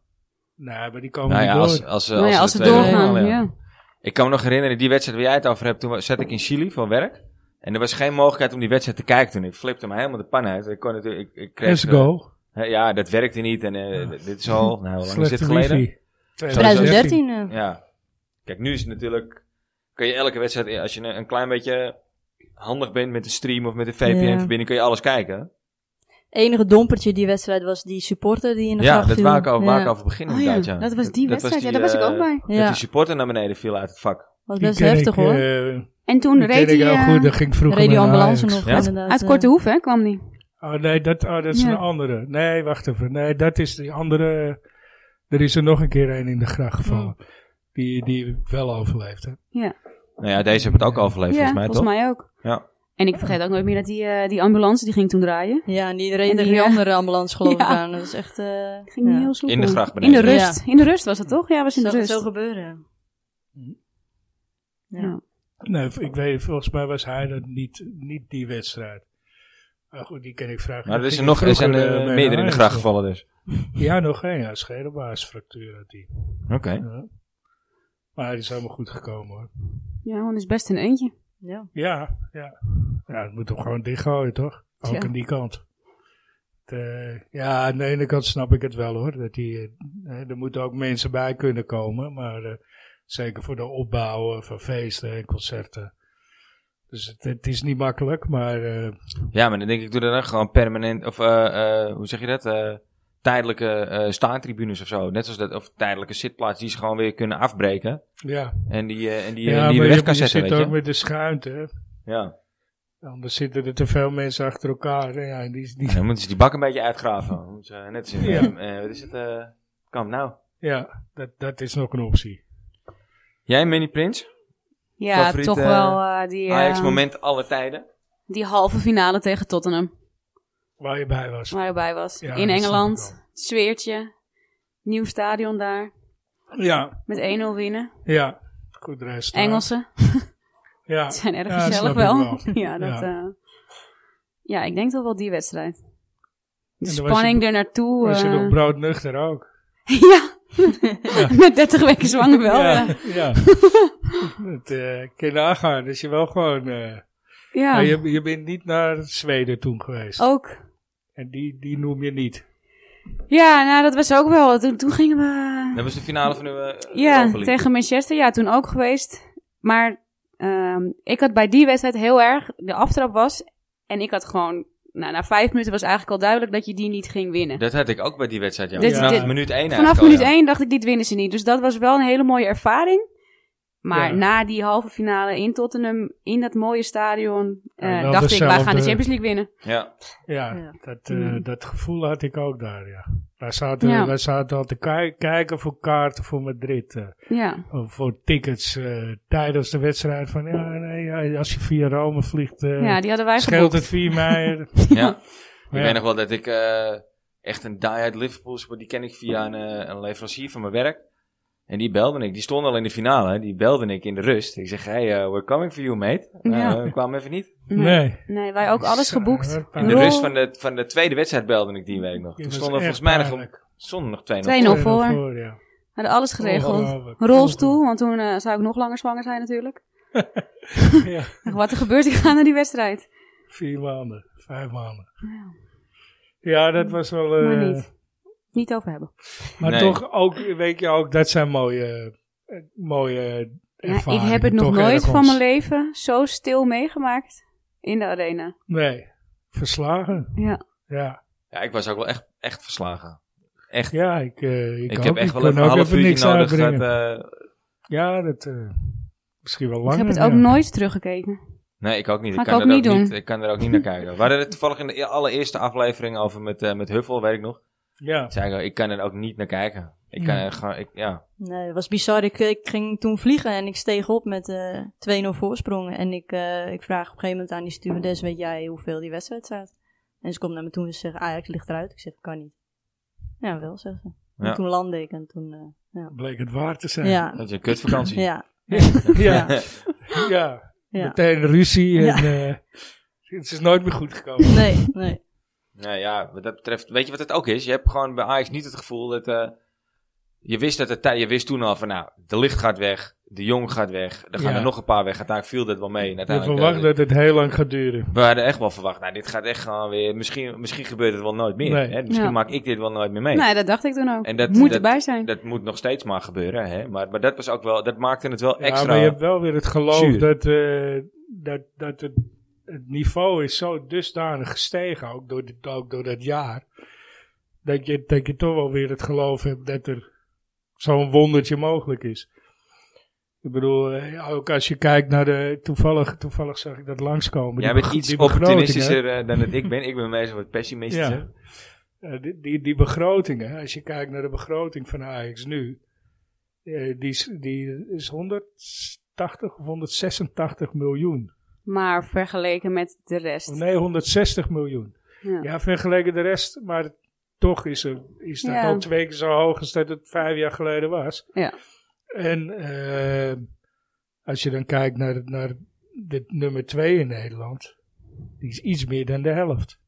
S2: Nee, maar die komen
S1: Nou
S2: niet
S1: ja,
S2: door.
S1: als, als,
S4: nou ja,
S1: de
S4: als ze
S1: tweede
S4: doorgaan,
S1: finale, ja.
S4: ja.
S1: Ik kan me nog herinneren, die wedstrijd waar jij het over hebt, toen wa- zat ik in Chili van werk. En er was geen mogelijkheid om die wedstrijd te kijken toen. Ik flipte hem helemaal de pan uit. Ik kon natuurlijk, ik, ik kreeg,
S2: Let's
S1: eh,
S2: go.
S1: hè, ja, dat werkte niet. En eh,
S4: Ah.
S1: d- dit is al, nou, hoe lang is dit
S2: Slechte
S1: geleden?
S2: wifi.
S3: 2013. eh.
S1: Ja. Kijk, nu is het natuurlijk. Kun je elke wedstrijd, eh, als je een, een klein beetje handig bent met de stream of met de VPN-verbinding, kun je alles kijken.
S3: eh, enige dompertje die wedstrijd was die supporter die in de
S1: ja,
S3: gracht
S1: dat
S3: viel.
S1: waar ik, over- waar
S3: Ja,
S1: ik over begin.
S4: Oh ja,
S1: inderdaad, ja.
S4: dat was die wedstrijd. ja,
S1: die,
S4: daar was ik
S1: eh,
S4: ook bij.
S1: Dat
S3: Ja,
S1: die supporter naar beneden viel uit het vak.
S3: was
S2: Die
S3: best
S2: ken
S3: heftig
S2: ik,
S3: hoor.
S2: eh,
S4: En toen
S2: die
S4: reed
S2: ken ik
S4: hij...
S2: heel
S4: eh,
S2: goed. Dat ging vroeger
S3: Radio
S2: met
S3: ambulance
S2: Ajax.
S3: nog
S1: Ja?
S3: inderdaad.
S4: Uit
S3: eh.
S4: Korte Hoef, hè, kwam die.
S2: Oh nee, dat, oh, dat is
S4: Ja.
S2: een andere. Nee, wacht even. Nee, dat is die andere. Er is er nog een keer een in de gracht gevallen. Die, die wel overleeft. Hè?
S1: Nou ja, deze hebben het ook overleefd,
S4: ja,
S1: volgens mij toch?
S4: volgens mij ook.
S1: Ja.
S4: En ik vergeet ook nooit meer dat die, eh, die ambulance, die ging toen draaien.
S3: Ja, en die reed
S4: En
S3: er
S4: die,
S3: die
S4: eh,
S3: andere ambulance geloof ik
S4: ja.
S3: aan. Dat is echt... eh
S4: Die ging
S3: ja.
S4: niet heel soepel.
S1: In de gracht
S4: In de
S1: beneden.
S4: rust. In de rust was het toch? Ja, was in de
S3: zo,
S4: rust.
S3: zo gebeuren. Ja.
S4: Ja.
S2: Nee, ik weet, volgens mij was hij dat niet, niet die wedstrijd. Maar goed, die ken ik eh, vragen.
S1: Maar er, is er, nog, er zijn
S4: eh,
S1: er meerdere in de gracht gevallen dus.
S2: Ja, nog één. Ja, schedelbaarsfractuur had die.
S1: Oké.
S2: Ja. Maar die is helemaal goed gekomen hoor.
S4: Ja, want het is best een eentje.
S3: Ja.
S2: Ja, ja. Ja, het moet hem gewoon dichtgooien, toch? Ook
S4: Ja.
S2: aan die kant. Het, eh, ja, aan de ene kant snap ik het wel hoor. Dat die, eh, eh, er moeten ook mensen bij kunnen komen. Maar eh, zeker voor de opbouwen van feesten en concerten. Dus het, het is niet makkelijk, maar eh,
S1: Ja, maar dan denk ik, doe er dan gewoon permanent, of eh, eh, hoe zeg je dat? Eh, tijdelijke eh staantribunes of zo. Net zoals dat, of tijdelijke zitplaatsen die ze gewoon weer kunnen afbreken.
S2: ja.
S1: En die, eh, en die,
S2: ja,
S1: en die
S2: maar
S1: weer
S2: je,
S1: weg kan
S2: je
S1: zetten,
S2: zit
S1: weet
S2: ook
S1: je.
S2: met de schuinte. hè.
S1: Ja.
S2: Anders zitten er te veel mensen achter elkaar. En ja, die, die,
S1: Ja, dan moeten ze die bak een beetje uitgraven. Dan moeten ze net
S2: Ja.
S1: zeggen, eh, eh, wat is het? eh kamp nou.
S2: ja dat, dat is nog een optie.
S1: Jij, Mini Prins?
S4: Ja,
S1: Favoriete
S4: toch wel eh, die, eh,
S1: Ajax moment alle tijden.
S4: die halve finale tegen Tottenham.
S2: Waar je bij was.
S4: Waar je bij
S2: Ja,
S4: was. in
S2: dat snap ik
S4: Engeland.
S2: wel.
S4: Sfeertje. Nieuw stadion daar.
S2: Ja,
S4: Met 1-0 winnen.
S2: ja. Goed rest.
S4: Engelsen.
S2: Ja.
S4: Het zijn erg
S2: Ja, dat
S4: gezellig
S2: snap ik
S4: wel.
S2: wel.
S4: ja, dat,
S2: Ja.
S4: eh, ja, ik denk toch wel die wedstrijd. De
S2: En dan was
S4: spanning
S2: je-
S4: er naartoe.
S2: Was je
S4: eh,
S2: nog broodnuchter ook?
S4: ja. Met 30 weken zwanger wel. eh, Ja.
S2: ja. ja. Het eh, kun je nagaan. Dus je wel gewoon... eh,
S4: ja.
S2: maar je, je bent niet naar Zweden toen geweest.
S4: Ook.
S2: En die, die noem je niet.
S4: Ja, nou dat was ook wel. Toen, toen gingen we...
S1: Dat was de finale van uw eh,
S4: Ja,
S1: Europa League.
S4: tegen Manchester. Ja, toen ook geweest. Maar ehm, ik had bij die wedstrijd heel erg de aftrap was. En ik had gewoon, nou, na vijf minuten was eigenlijk al duidelijk dat je die niet ging winnen.
S1: Dat had ik ook bij die wedstrijd, ja.
S4: Dit-
S1: Vanaf
S2: dit-
S1: minuut 1
S4: Vanaf minuut één dacht ik, dit winnen ze niet. Dus dat was wel een hele mooie ervaring. Maar
S2: Ja.
S4: na die halve finale in Tottenham, in dat mooie stadion, eh,
S2: En wel
S4: dacht ik, wij gaan de
S2: dezelfde-
S4: Champions League winnen.
S1: Ja.
S2: Ja,
S3: Ja.
S2: Dat, eh,
S4: Mm.
S2: dat gevoel had ik ook daar, ja. Wij zaten,
S4: Ja.
S2: wij zaten al te ki- kijken voor kaarten voor Madrid. eh,
S4: Ja,
S2: of voor tickets eh, tijdens de wedstrijd. Van ja, nee, ja, als je via Rome vliegt, eh,
S4: ja die hadden wij
S2: scheelt
S4: geboekt.
S2: het 4 mei.
S1: ja. Ik
S2: Ja.
S1: weet nog wel dat ik eh, echt een die-out Liverpool support, die ken ik via een, eh, een leverancier van mijn werk. En die belde ik. Die stond al in de finale. Die belde ik in de rust. Ik zeg, hey, eh, we're coming for you, mate. Nou,
S4: Ja.
S1: eh, kwam even niet.
S4: Nee.
S2: nee.
S4: Nee, wij ook alles
S2: Zo,
S4: geboekt.
S2: wat
S1: In
S2: pijn.
S1: de
S4: Rol.
S1: rust van de, van de tweede wedstrijd belde ik die week nog. Toen
S2: Die was
S1: stonden
S2: echt
S1: volgens mij nog,
S2: pijnlijk.
S1: stonden nog 2-0
S4: 2-0 voor.
S2: ja.
S4: We oh, hadden alles geregeld.
S2: Ongelooflijk.
S4: Rolstoel, want toen eh, zou ik nog langer zwanger zijn natuurlijk.
S2: Ja,
S4: Dacht, Wat er gebeurt, ik ga naar die wedstrijd.
S2: vier maanden, vijf maanden. Ja, dat was wel... eh,
S4: Maar niet. Niet over hebben.
S2: maar
S1: Nee.
S2: toch ook, weet je ook, dat zijn mooie, eh, mooie
S4: Ja, ik
S2: ervaringen.
S4: heb het nog
S2: toch
S4: nooit
S2: ergens.
S4: van mijn leven zo stil meegemaakt in de arena.
S2: Nee, verslagen.
S4: Ja.
S2: Ja,
S1: Ja, ik was ook wel echt, echt verslagen. Echt.
S2: ja ik, eh, ik,
S1: ik
S2: ook.
S1: heb echt wel
S2: Ik kon
S1: even een
S2: ook
S1: half uurtje
S2: niks
S1: nodig
S2: uitbrengen.
S1: gehad. eh,
S2: Ja, dat... eh, misschien wel
S4: Ik
S2: langer.
S4: heb het ook
S2: ja.
S4: nooit teruggekeken.
S1: nee, ik ook niet.
S4: Ga
S1: Ik
S4: ik
S1: kan,
S4: ook
S1: er
S4: niet
S1: ook
S4: doen.
S1: niet, ik kan er ook niet naar kijken. We hadden het toevallig in de e- allereerste aflevering over met, eh, met Huffel, weet ik nog.
S2: Ja.
S1: Zei ik, al, ik kan er ook niet naar kijken. Ik kan er gewoon, ik, ja.
S3: Nee, het was bizar. Ik, eh, ik ging toen vliegen en ik steeg op met eh 2-0 voorsprong. En ik, eh, ik vraag op een gegeven moment aan die stewardess, weet jij hoeveel die wedstrijd staat? En ze komt naar me toe en ze zegt, Ajax ligt eruit. Ik zeg, kan niet. Ja, wel, zegt ze. En
S1: Ja.
S3: toen landde ik en toen... eh,
S2: Bleek het waar te zijn.
S3: ja,
S1: Dat is een kutvakantie.
S3: ja,
S2: ja.
S3: ja,
S2: ja.
S3: ja.
S2: meteen ruzie. En,
S3: Ja.
S2: eh, het is nooit meer goed gekomen.
S3: Nee, nee.
S1: Nou ja, wat dat betreft, weet je wat het ook is? Je hebt gewoon bij Ajax niet het gevoel dat, eh, je wist, dat het, tij- je wist toen al van, nou, de licht gaat weg, de jong gaat weg, er gaan
S2: Ja.
S1: er nog een paar weg. Uiteindelijk viel dat wel mee. En
S2: We
S1: Uiteindelijk,
S2: verwachten
S1: eh,
S2: dat het heel lang gaat duren.
S1: we hadden echt wel verwacht, nou, dit gaat echt gewoon weer, misschien, misschien gebeurt het wel nooit meer.
S2: Nee.
S1: Hè? Misschien
S4: Ja.
S1: maak ik dit wel nooit meer mee.
S4: Nee, dat dacht ik toen ook.
S1: En dat-
S4: Moet
S1: dat-
S4: erbij zijn.
S1: Dat moet nog steeds maar gebeuren, hè. Maar, maar dat was ook wel, dat maakte het wel
S2: Ja,
S1: extra.
S2: maar je hebt wel weer het geloof
S1: zuur.
S2: dat, eh, dat, dat het, het niveau is zo dusdanig gestegen, ook door, dit- ook door dat jaar, dat je, dat je toch wel weer het geloof hebt dat er zo'n wondertje mogelijk is. Ik bedoel, eh, ook als je kijkt naar de... Toevallig, toevallig zag ik dat langskomen.
S1: Jij
S2: die
S1: bent
S2: beg-
S1: iets
S2: die begrotingen.
S1: optimistischer eh, dan dat ik ben. Ik ben meestal wat pessimistischer.
S2: Ja. Eh, die, die, die begrotingen, als je kijkt naar de begroting van Ajax nu, eh, die, is, die is 180 of 186 miljoen.
S4: Maar vergeleken met de rest.
S2: Of Oh, nee, 160 miljoen.
S4: Ja.
S2: Ja, vergeleken de rest, maar toch is, er, is dat
S4: Ja.
S2: al twee keer zo hoog als dat het vijf jaar geleden was.
S4: Ja.
S2: En eh, als je dan kijkt naar, naar de nummer twee in Nederland, die is iets meer dan de helft.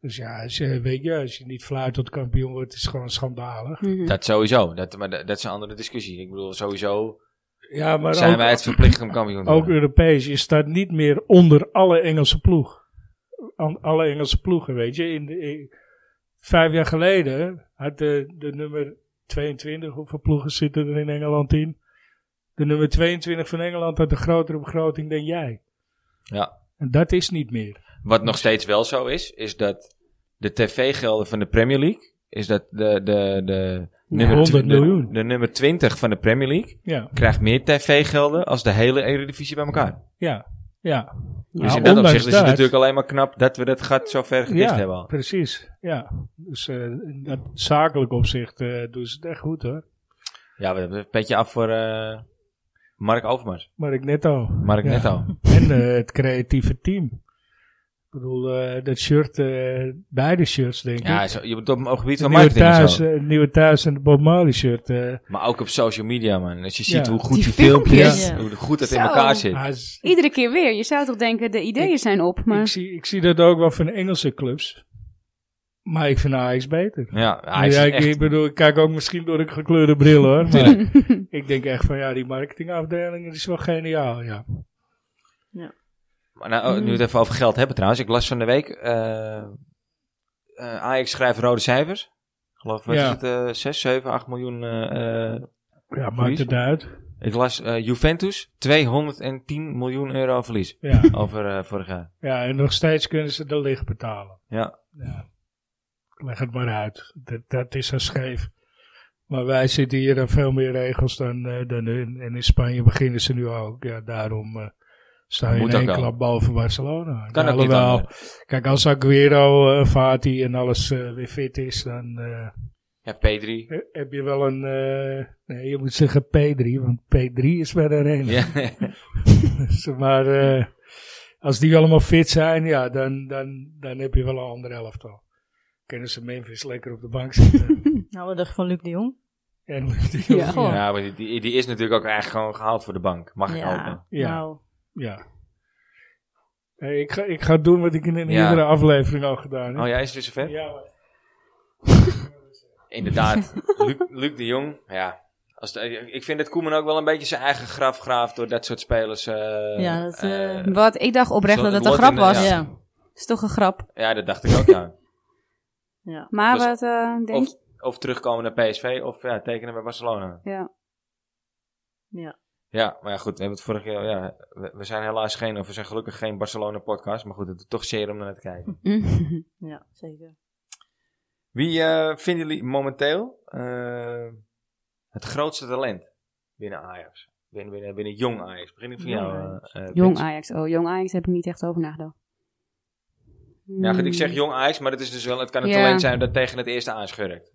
S2: Dus ja, als je, weet je, als je niet fluit tot kampioen wordt, is het gewoon schandalig.
S4: Mhm.
S1: Dat sowieso. Dat, maar dat, dat is een andere discussie. Ik bedoel, sowieso
S2: Ja, maar
S1: zijn
S2: ook,
S1: wij het verplicht om kampioen te
S2: ook
S1: worden.
S2: Europees, je staat niet meer onder alle Engelse ploeg. Aan alle Engelse ploegen, weet je. In de, in- vijf jaar geleden had de, de nummer 22, hoeveel ploegen zitten er in Engeland in? De nummer 22 van Engeland had een grotere begroting dan jij.
S1: Ja.
S2: En dat is niet meer.
S1: Wat nog steeds wel zo is, is dat de tv-gelden van de Premier League, is dat de, de, de, nummer,
S2: 100
S1: tw- de-
S2: miljoen.
S1: De, nummer 20 van de Premier League
S2: Ja,
S1: krijgt meer tv-gelden als de hele Eredivisie bij elkaar.
S2: ja, ja.
S1: Dus
S2: Nou,
S1: in dat
S2: ondanks
S1: opzicht is het
S2: dat-
S1: natuurlijk alleen maar knap dat we dat gat zo ver gedicht
S2: ja,
S1: hebben al.
S2: precies. Ja. Dus eh, in dat zakelijk opzicht eh, doen ze het echt goed hoor.
S1: Ja, we hebben een petje af voor eh, Mark Overmars.
S2: Mark Netto.
S1: Mark
S2: Ja.
S1: Netto.
S2: En eh, het creatieve team. Ik bedoel, eh, dat shirt, eh, beide shirts denk ik.
S1: Ja, zo, je moet op het gebied
S2: Het
S1: van
S2: nieuwe,
S1: marketing en
S2: thuis,
S1: zo.
S2: eh, het nieuwe thuis en de Bob Marley shirt. eh.
S1: Maar ook op social media, man. Als je
S2: Ja.
S1: ziet hoe goed
S4: Die
S1: die filmpjes,
S3: filmpjes. Ja.
S1: hoe goed dat in
S4: Zo.
S1: elkaar zit.
S2: Ah, is-
S4: Iedere keer weer. Je zou toch denken, de ideeën zijn op.
S2: ik,
S4: Maar
S2: zie, ik zie dat ook wel van Engelse clubs. Maar ik vind Ajax beter.
S1: Ja, hij is
S2: ja, ik,
S1: echt...
S2: ik bedoel, ik kijk ook misschien door een gekleurde bril hoor. Maar ik denk echt van ja, die marketingafdeling die is wel geniaal. Ja.
S1: Maar nou, oh, nu we het even over geld hebben trouwens. Ik las van de week... eh, eh, Ajax schrijft rode cijfers. Ik geloof, wat
S2: Ja.
S1: is het? eh 6, 7, 8 miljoen... eh, eh,
S2: ja, maakt
S1: Verlies.
S2: het uit.
S1: ik las eh, Juventus, 210 miljoen euro verlies.
S2: Ja.
S1: Over eh, vorig jaar.
S2: ja, en nog steeds kunnen ze de licht betalen.
S1: Ja.
S2: Ja. Leg het maar uit. Dat, dat is zo scheef. Maar wij zitten hier aan veel meer regels dan, eh, dan hun. En in Spanje beginnen ze nu ook. Ja, daarom eh sta je
S1: Moet
S2: in één
S1: ook wel.
S2: klap boven Barcelona.
S1: Kan ook niet anders.
S2: Kijk, als Aguero, eh, Fati en alles eh, weer fit is, dan eh,
S1: Ja, P3.
S2: he- heb je wel een... eh, nee, je moet zeggen P3, want P3 is bij de Renen.
S1: Ja.
S2: Dus, maar eh, als die allemaal fit zijn, ja, dan, dan, dan heb je wel een ander elftal. Kunnen ze Memphis lekker op de bank zitten.
S3: Nou, wat dacht je van Luc de Jong?
S2: en,
S4: Ja.
S2: ja.
S1: ja, maar die- die, die is natuurlijk ook eigenlijk gewoon gehaald voor de bank. Mag ik hopen.
S2: Ja.
S3: Nou,
S2: ja. Hey, ik, ga, ik ga doen wat ik in een
S1: Ja.
S2: eerdere aflevering al gedaan heb.
S1: Oh, jij is dus zover?
S2: Ja, maar-
S1: Inderdaad, Luc, Luc de Jong. Ja. Als de- ik vind dat Koeman ook wel een beetje zijn eigen graf graaft door dat soort spelers. eh,
S3: Ja, dat, eh,
S1: eh,
S4: wat, ik dacht oprecht
S1: Zo,
S4: dat
S1: het
S4: het een
S1: lot
S4: grap
S1: in,
S4: was.
S3: ja.
S1: eh,
S3: ja.
S4: is toch een grap.
S1: ja, dat dacht ik ook. Ja.
S4: Maar
S1: Was-
S4: wat eh, denk
S1: Of,
S4: je?
S1: of terugkomen naar PSV of ja, tekenen bij Barcelona.
S4: Ja.
S1: Ja, maar ja, goed. We hebben het vorige keer. Ja, we, we zijn helaas geen, of we zijn gelukkig geen Barcelona-podcast. Maar goed, het doet toch zeer om naar te kijken.
S3: ja, zeker.
S1: Wie eh, vinden jullie momenteel eh, het grootste talent binnen Ajax? Binnen, binnen, binnen jong Ajax. Begin ik van
S3: Jong
S1: jou.
S3: Ajax.
S1: eh, eh,
S4: Jong
S1: Pits.
S4: Ajax. Oh, Jong Ajax heb ik niet echt over nagedacht. Hmm.
S1: Ja, goed, ik zeg jong Ajax, maar dat is dus wel, het kan het
S4: Ja.
S1: talent zijn dat tegen het eerste aanschurkt.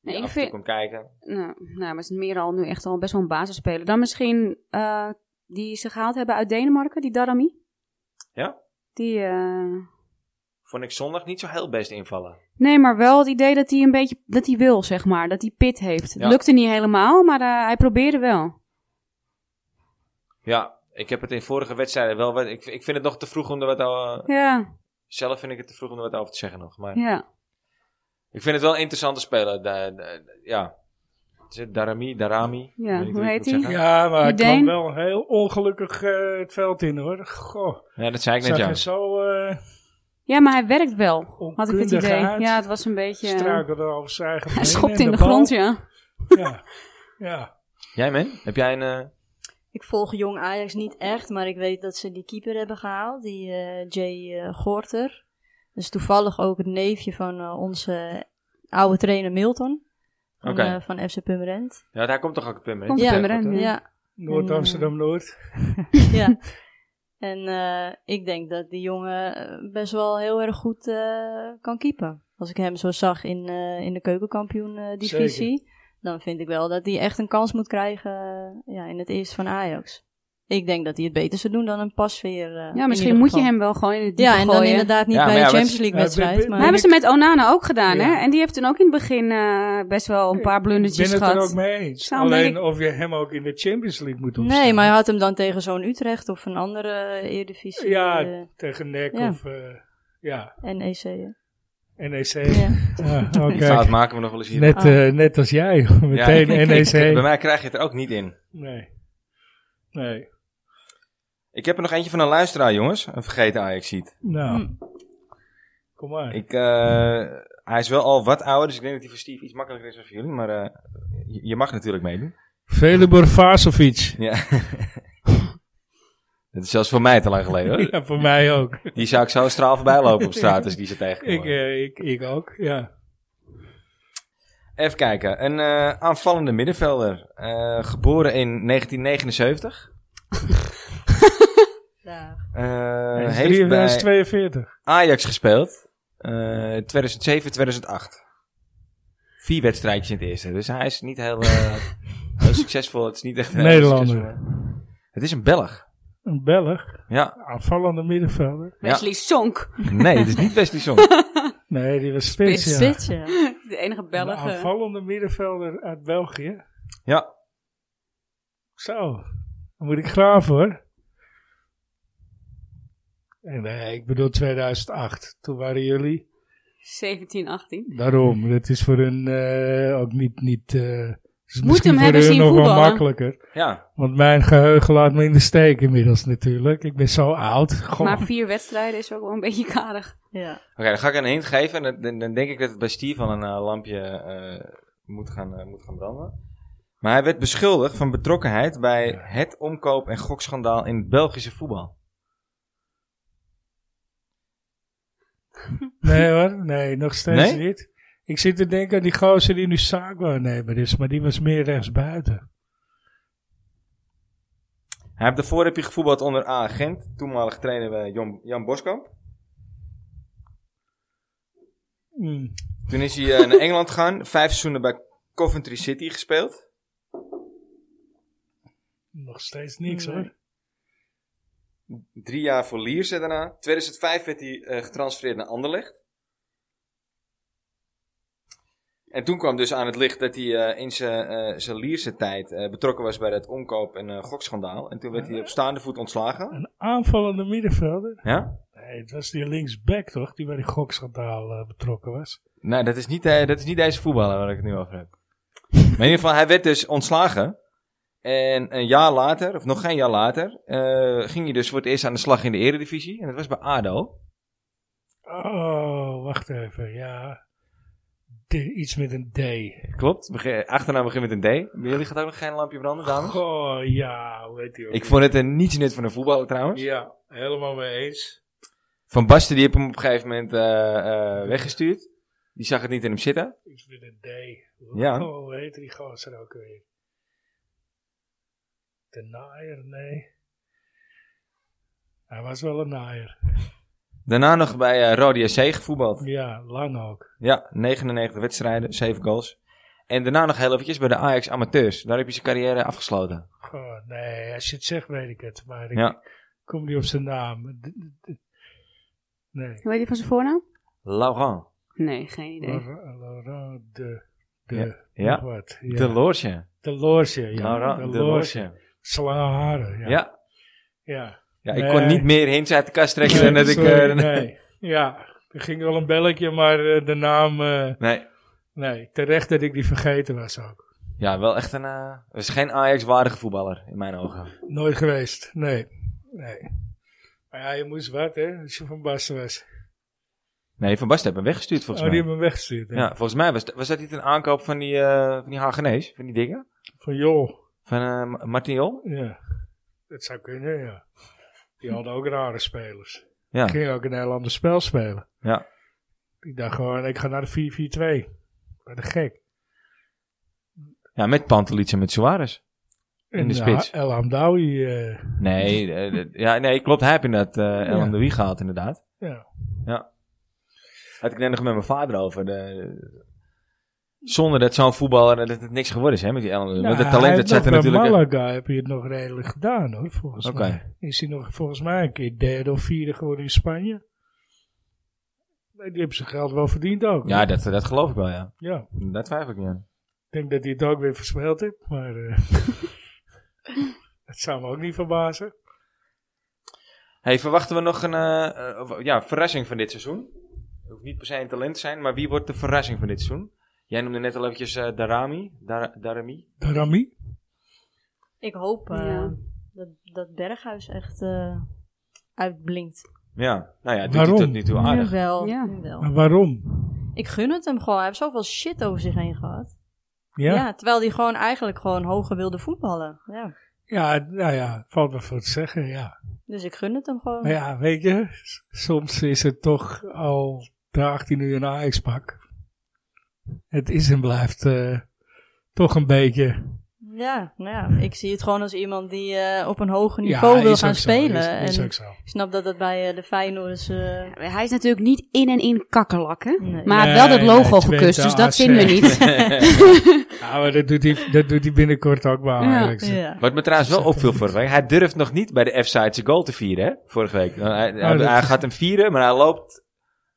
S4: Nee,
S1: Ja,
S4: ik
S1: af en toe
S4: vind,
S1: komt kijken.
S4: nou, nou, maar het is meer al nu echt al best wel een basisspeler. Dan misschien eh, die ze gehaald hebben uit Denemarken, die Darami.
S1: Ja.
S4: Die, eh,
S1: Vond ik zondag niet zo heel best invallen.
S4: nee, maar wel het idee dat hij een beetje, dat hij wil, zeg maar. Dat hij pit heeft.
S1: Ja.
S4: Het lukte niet helemaal, maar eh, hij probeerde wel.
S1: Ja, ik heb het in vorige wedstrijden wel. wat- Ik, ik vind het nog te vroeg om er wat over.
S4: Ja,
S1: Zelf vind ik het te vroeg om er wat over te zeggen nog. Maar
S4: ja.
S1: ik vind het wel een interessante speler. da- da- ja. Is het Darami, Darami? Ik
S4: Ja,
S1: weet niet
S4: hoe
S1: ik
S4: heet
S1: moet
S4: die?
S1: zeggen.
S2: Ja, maar ik kwam
S4: Ideen?
S2: wel heel ongelukkig eh, het veld in hoor. Goh,
S1: Ja, dat zei ik net,
S2: zag
S1: ja.
S2: je zo eh
S4: Ja, maar hij werkt wel, had ik het
S2: Onkundige
S4: idee.
S2: aard.
S4: Ja, het was een beetje...
S2: struikelde over zijn eigen
S4: Hij
S2: been
S4: schopt
S2: en
S4: in de
S2: bal.
S4: grond, ja.
S2: Ja, ja.
S1: Jij, man? Heb jij een... eh,
S3: Ik volg jong Ajax niet echt, maar ik weet dat ze die keeper hebben gehaald, die eh, Jay eh Gorter. Dat is toevallig ook het neefje van eh, onze oude trainer Milton. Van,
S1: Oké.
S3: eh, van FC Purmerend.
S1: Ja, daar komt toch ook het Pummer?
S4: Komt
S3: Ja.
S4: Purmerend,
S1: Oké.
S4: ja.
S3: Ja,
S4: eh,
S2: Noord-Amsterdam-Noord.
S3: ja. En eh, ik denk dat die jongen eh, best wel heel erg goed eh, kan keepen. Als ik hem zo zag in, eh, in de keukenkampioen-divisie, dan vind ik wel dat hij echt een kans moet krijgen eh, ja, in het eerste van Ajax. Ik denk dat hij het beter zou doen dan een pasveer. eh,
S4: Ja,
S3: in
S4: misschien
S3: ieder
S4: moet je
S3: geval.
S4: hem wel gewoon in het diepe
S3: Ja, en dan
S4: gooien.
S3: inderdaad niet
S1: Ja,
S3: bij
S1: maar
S3: de
S1: ja,
S3: Champions
S1: wat-
S3: League wedstrijd.
S2: Ja,
S3: maar
S4: Maar hebben ze met Onana ook gedaan,
S2: Ja.
S4: hè? En die heeft toen ook in het begin eh, best wel een paar
S2: Ik ben
S4: blundertjes
S2: het er ook
S4: gehad.
S2: mee eens.
S4: Nou, ben
S2: Alleen
S4: ik-
S2: of je hem ook in de Champions League moet opstellen.
S3: nee, maar je had hem dan tegen zo'n Utrecht of een andere eh, Eredivisie
S2: Ja,
S3: eh, E
S2: tegen NEC
S3: Ja.
S2: of eh ja,
S3: NEC. hè.
S2: NEC.
S3: Ja.
S2: Ja,
S1: Die
S2: Ah, oké.
S1: fout maken we nog wel eens hier.
S2: Net, eh, net als jij,
S1: Ja,
S2: meteen
S1: ik- ik- Bij
S2: NEC.
S1: mij krijg je het er ook niet in.
S2: Nee. Nee.
S1: Ik heb er nog eentje van een luisteraar, jongens. Een vergeten Ajax-ziet.
S2: Nou.
S3: Hm.
S2: Kom maar.
S1: Ik, eh, hij is wel al wat ouder, dus ik denk dat hij voor Steve iets makkelijker is dan voor jullie. Maar eh, je- je mag natuurlijk meedoen.
S2: Velibor Vasovic.
S1: Ja. Dat is zelfs voor mij te lang geleden hoor.
S2: Ja, voor mij ook.
S1: Die zou ik zo straal voorbij lopen op straat als ik die ze tegenkom.
S2: Ik, eh, ik, ik ook, ja.
S1: Even kijken. Een eh, aanvallende middenvelder. eh, geboren in 1979.
S3: Ja.
S1: Eh,
S2: Hij is
S1: heeft
S2: 43,
S1: bij
S2: 42.
S1: Ajax gespeeld. eh, 2007, 2008. Vier wedstrijdjes in het eerste. Dus hij is niet heel, eh, heel succesvol. Het is niet echt een heel
S2: Nederlander.
S1: succesvolle- Het is een Belg.
S2: Een Belg.
S1: Ja.
S2: Aanvallende middenvelder.
S4: Wesley Sonk,
S1: Nee, het is niet Wesley Song.
S2: Nee, die was spits, ja.
S3: Spits, ja.
S4: de enige
S2: Een
S4: Belg. eh,
S2: aanvallende middenvelder uit België.
S1: Ja.
S2: Zo. Dan moet ik graven, hoor. En, nee, ik bedoel 2008. Toen waren jullie...
S4: 17, 18.
S2: Daarom, het is voor hun eh, ook niet. niet eh, is
S4: hem
S2: misschien voor
S4: hebben
S2: hun
S4: zien
S2: nog wel
S4: voetballen.
S2: makkelijker.
S1: Ja.
S2: Want mijn geheugen laat me in de steek inmiddels natuurlijk. Ik ben zo oud. Goh.
S4: Maar vier wedstrijden is ook wel een beetje karig.
S3: ja.
S1: Oké, dan ga ik een hint geven. En dan- dan, dan denk ik dat het bij Steve al een eh, lampje eh, moet, gaan, eh, moet gaan branden. Maar hij werd beschuldigd van betrokkenheid bij het omkoop- en gokschandaal in het Belgische voetbal.
S2: Nee hoor, nee, nog steeds
S1: Nee?
S2: niet. Ik zit te denken aan die gozer die nu zaak wou nemen is, maar die was meer rechtsbuiten.
S1: Hij heeft daarvoor heb je gevoetbald onder A. Gent, toenmalig trainer bij Jan, Jan Boskamp.
S4: Hmm.
S2: Mm.
S1: Toen is hij eh, naar Engeland gegaan, vijf seizoenen bij Coventry City gespeeld.
S2: Nog steeds niks
S3: Nee.
S2: hoor.
S1: Drie jaar voor Lierse daarna. 2005 werd hij eh, getransfereerd naar Anderlecht. En toen kwam dus aan het licht dat hij eh, in zijn eh, zijn Lierse tijd eh, betrokken was bij dat omkoop- en eh, gokschandaal. En toen werd hij op staande voet ontslagen.
S2: Een aanvallende middenvelder.
S1: Ja?
S2: Nee, het was die linksback toch, die bij die gokschandaal eh, betrokken was.
S1: Nou, dat is, niet, eh, dat is niet deze voetballer waar ik het nu over heb. Maar in ieder geval, hij werd dus ontslagen. En een jaar later, of nog geen jaar later, eh, ging hij dus voor het eerst aan de slag in de eredivisie. En dat was bij ADO.
S2: Oh, wacht even, ja. D- iets met een D.
S1: Klopt. Begin- eh, achternaam begint met een D. Bij jullie gaat ook nog geen lampje branden, dames?
S2: Goh, ja, hoe heet die ook?
S1: Ik vond het een niets nut van een voetballer trouwens.
S2: Ja, helemaal mee eens.
S1: Van Basten die heeft hem op een gegeven moment eh, eh, weggestuurd. Die zag het niet in hem zitten.
S2: Iets met een D.
S1: Ja.
S2: Oh, hoe heet die gozer ook weer? De naaier? Nee. Hij was wel een naaier.
S1: Daarna nog bij eh Rodia C gevoetbald.
S2: Ja, lang ook.
S1: Ja, 99 wedstrijden, 7 goals. En daarna nog heel eventjes bij de Ajax Amateurs. Daar heb je zijn carrière afgesloten.
S2: Goh, nee, als je het zegt weet ik het. Maar ik
S1: Ja.
S2: kom niet op zijn naam. D- d- d- Nee.
S4: Hoe heet die van zijn voornaam?
S1: Laurent.
S4: Nee, geen idee.
S2: Laura- Laura de... De,
S1: Ja.
S2: nog wat. Ja.
S1: De Loorsje.
S2: De Loorsje, ja.
S1: Laurent
S2: de
S1: de Loorsje.
S2: Slange haren,
S1: Ja.
S2: ja.
S1: Ja.
S2: ja.
S1: ik
S2: Nee.
S1: kon niet meer hints uit de kast trekken dan dat ik...
S2: sorry,
S1: eh,
S2: nee. Ja, er ging wel een belletje, maar eh, de naam. eh,
S1: nee.
S2: nee, terecht dat ik die vergeten was ook.
S1: Ja, wel echt een... eh, het is geen Ajax-waardige voetballer, in mijn ogen.
S2: Nooit geweest, nee. nee. Maar ja, je moest wat, hè, als je van Basten was.
S1: Nee, Van Basten hebben hem weggestuurd
S2: Oh,
S1: volgens
S2: die
S1: mij.
S2: hebben hem weggestuurd. hè.
S1: Ja, volgens mij was, was dat niet een aankoop van die, eh van die Hagenees, van die dingen?
S2: Van joh,
S1: Van eh, Ma- Martin Jol?
S2: ja. Dat zou kunnen, ja. Die hadden ook rare spelers.
S1: Ja,
S2: Ging ook een heel ander spel spelen.
S1: ja.
S2: Ik dacht gewoon, ik ga naar de 4-4-2. Wat een gek.
S1: ja met Pantelic en met Suarez. In de spits.
S2: eh, El Hamdawi, eh,
S1: Nee, eh, dat- ja, nee, klopt. Hij heeft inderdaad eh El
S2: Ja.
S1: Hamdoui gehaald, inderdaad.
S2: ja.
S1: Had ik net nog met mijn vader over. De, zonder dat zo'n voetballer, dat het niks geworden is, hè, met die El Hamdoui.
S2: Nou,
S1: Want het talent, dat zat er natuurlijk...
S2: Bij
S1: Oké.
S2: Malaga heb je het nog redelijk gedaan, hoor, volgens
S1: Oké.
S2: mij. Is hij nog volgens mij een keer derde of vierde geworden in Spanje. Nee, Die hebben zijn geld wel verdiend ook.
S1: Ja,
S2: hoor.
S1: dat, dat geloof ik wel, ja.
S2: ja.
S1: Daar twijfel ik niet aan.
S2: Ik denk dat hij het ook weer verspeeld heeft, maar eh dat zou me ook niet verbazen.
S1: Hey, verwachten we nog een eh, eh, of- ja, verrassing van dit seizoen? Het hoeft niet per se een talent te zijn, maar wie wordt de verrassing van dit seizoen? Jij noemde net al eventjes eh, Darami. Dar Darami.
S2: De Rami?
S3: Ik hoop eh,
S4: Ja.
S3: dat, dat Berghuis echt eh, uitblinkt.
S1: Ja, nou ja, doet
S2: Waarom?
S1: hij tot nu toe aardig.
S3: Jawel,
S4: Ja.
S3: jawel.
S2: Maar waarom?
S3: Ik gun het hem gewoon. Hij heeft zoveel shit over zich heen gehad.
S2: Ja?
S3: Ja,
S2: Ja,
S3: terwijl hij gewoon eigenlijk gewoon hoger wilde voetballen. Ja.
S2: nou ja, valt me voor te zeggen, ja.
S3: Dus ik gun het hem gewoon.
S2: Maar ja, weet je, s- soms is het toch al draagt hij nu een Ajax-pak. Het is en blijft eh, toch een beetje...
S3: Ja, nou ja, ik zie het gewoon als iemand die eh, op een hoger
S2: Ja,
S3: niveau wil
S2: is
S3: gaan
S2: ook zo,
S3: spelen.
S2: Is, is
S3: en
S2: ook zo.
S3: ik snap dat dat bij eh, de Feyenoorders... eh
S4: Hij is natuurlijk niet in en in kakkerlak, hè?
S3: nee.
S4: Maar
S2: Nee,
S4: hij heeft wel dat logo
S2: nee, Twente,
S4: gekust, dus dat
S2: AZ.
S4: vinden we niet.
S2: Ja, Nou, maar dat doet hij, dat doet hij binnenkort ook bij
S4: Ja.
S2: Ajax.
S3: ja.
S1: Wat me trouwens wel opviel vorige week, hij durft nog niet bij de F-side zijn goal te vieren, hè? Vorige week. Nou, Hij, hij,
S2: dat-
S1: hij gaat hem vieren, maar hij loopt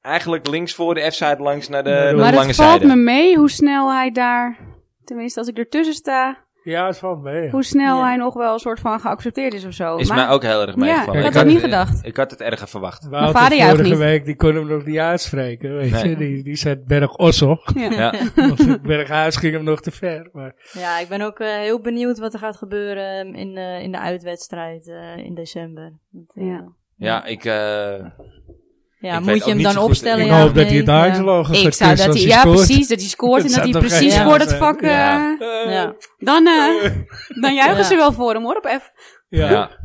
S1: eigenlijk links voor de F-side langs naar de,
S2: Maar
S1: naar de
S4: maar
S1: lange
S4: het valt
S1: zijde.
S4: me mee hoe snel hij daar, tenminste als ik ertussen sta,
S2: Ja, het valt mee. ja.
S4: hoe snel
S3: Ja.
S4: hij nog wel een soort van geaccepteerd is of zo.
S1: Is
S4: maar
S1: mij ook heel erg meegevallen.
S4: ik
S1: Ik
S4: had dat
S1: had-
S4: niet gedacht.
S1: Ik had het erger verwacht.
S2: Wouter
S4: vader juicht
S2: vorige
S4: niet.
S2: week, die kon hem nog niet uitspreken, weet
S1: Nee.
S2: je. Die, die zei Berg Ossel.
S4: Ja.
S1: Ja.
S2: Want Berghuis ging hem nog te ver. Maar
S3: ja, ik ben ook eh, heel benieuwd wat er gaat gebeuren eh, in, eh, in de uitwedstrijd eh, in december. Want, eh,
S4: Ja.
S1: Ja, ik... eh, Ik
S3: ja,
S1: weet
S3: moet
S1: ook
S3: je hem
S1: niet
S3: dan
S1: zo goed-
S3: opstellen?
S1: ik
S2: ik
S3: ja,
S2: hoop
S3: of
S2: dat hij
S3: nee?
S2: het Ajax-logo gaat
S4: Ik zou
S2: kussen
S4: dat
S2: als
S4: hij,
S2: hij
S4: ja
S2: scoort.
S4: precies, dat hij scoort en
S2: Dat
S4: dat hij
S2: zou toch
S4: precies
S3: geniaal
S4: voor dat
S2: zijn?
S4: vak, eh,
S1: Ja.
S2: Eh,
S3: Ja.
S4: dan, eh, dan juichen
S3: Ja.
S4: ze wel voor hem hoor, op F.
S1: Ja.
S2: ja.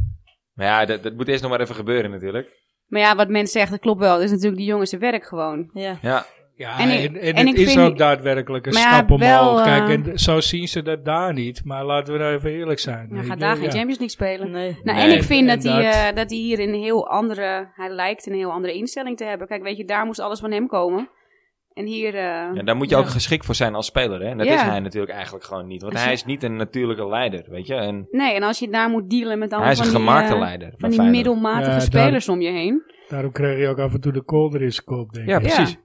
S1: Maar ja, dat, dat moet eerst nog maar even gebeuren natuurlijk.
S4: Maar ja, wat mensen zeggen, dat klopt wel. Dat is natuurlijk die jongen zijn werk gewoon.
S3: Ja.
S1: Ja,
S2: Ja,
S4: En
S2: en,
S4: ik-
S2: en,
S4: en
S2: het
S4: ik
S2: is
S4: vind-
S2: ook daadwerkelijk een
S4: Maar ja,
S2: stap omhoog.
S4: wel, eh,
S2: Kijk, en d- zo zien ze dat daar niet. Maar laten we nou even eerlijk zijn.
S4: Hij
S2: weet
S4: gaat
S2: je,
S4: daar
S2: ja.
S4: geen Champions League spelen.
S3: Nee.
S4: Nou,
S1: Nee,
S4: en ik vind dat hij,
S2: inderdaad.
S4: eh, dat hij hier een heel andere... Hij lijkt een heel andere instelling te hebben. Kijk, weet je, daar moest alles van hem komen. En hier... eh,
S1: ja daar moet je ook geschikt voor zijn als speler. Hè? En dat
S4: Ja.
S1: is hij natuurlijk eigenlijk gewoon niet. Want hij is niet een natuurlijke leider, weet je. En
S4: Nee, en als je daar moet dealen met allemaal
S1: hij is een
S4: van die,
S1: gemaakte
S4: eh,
S1: leider. bij
S4: van die
S1: Feyenoord.
S4: middelmatige
S2: Ja,
S4: spelers om je heen.
S2: Daarom kreeg hij ook af en toe de kolder in zijn kop, denk
S1: Ja,
S2: ik.
S1: precies.
S4: Ja.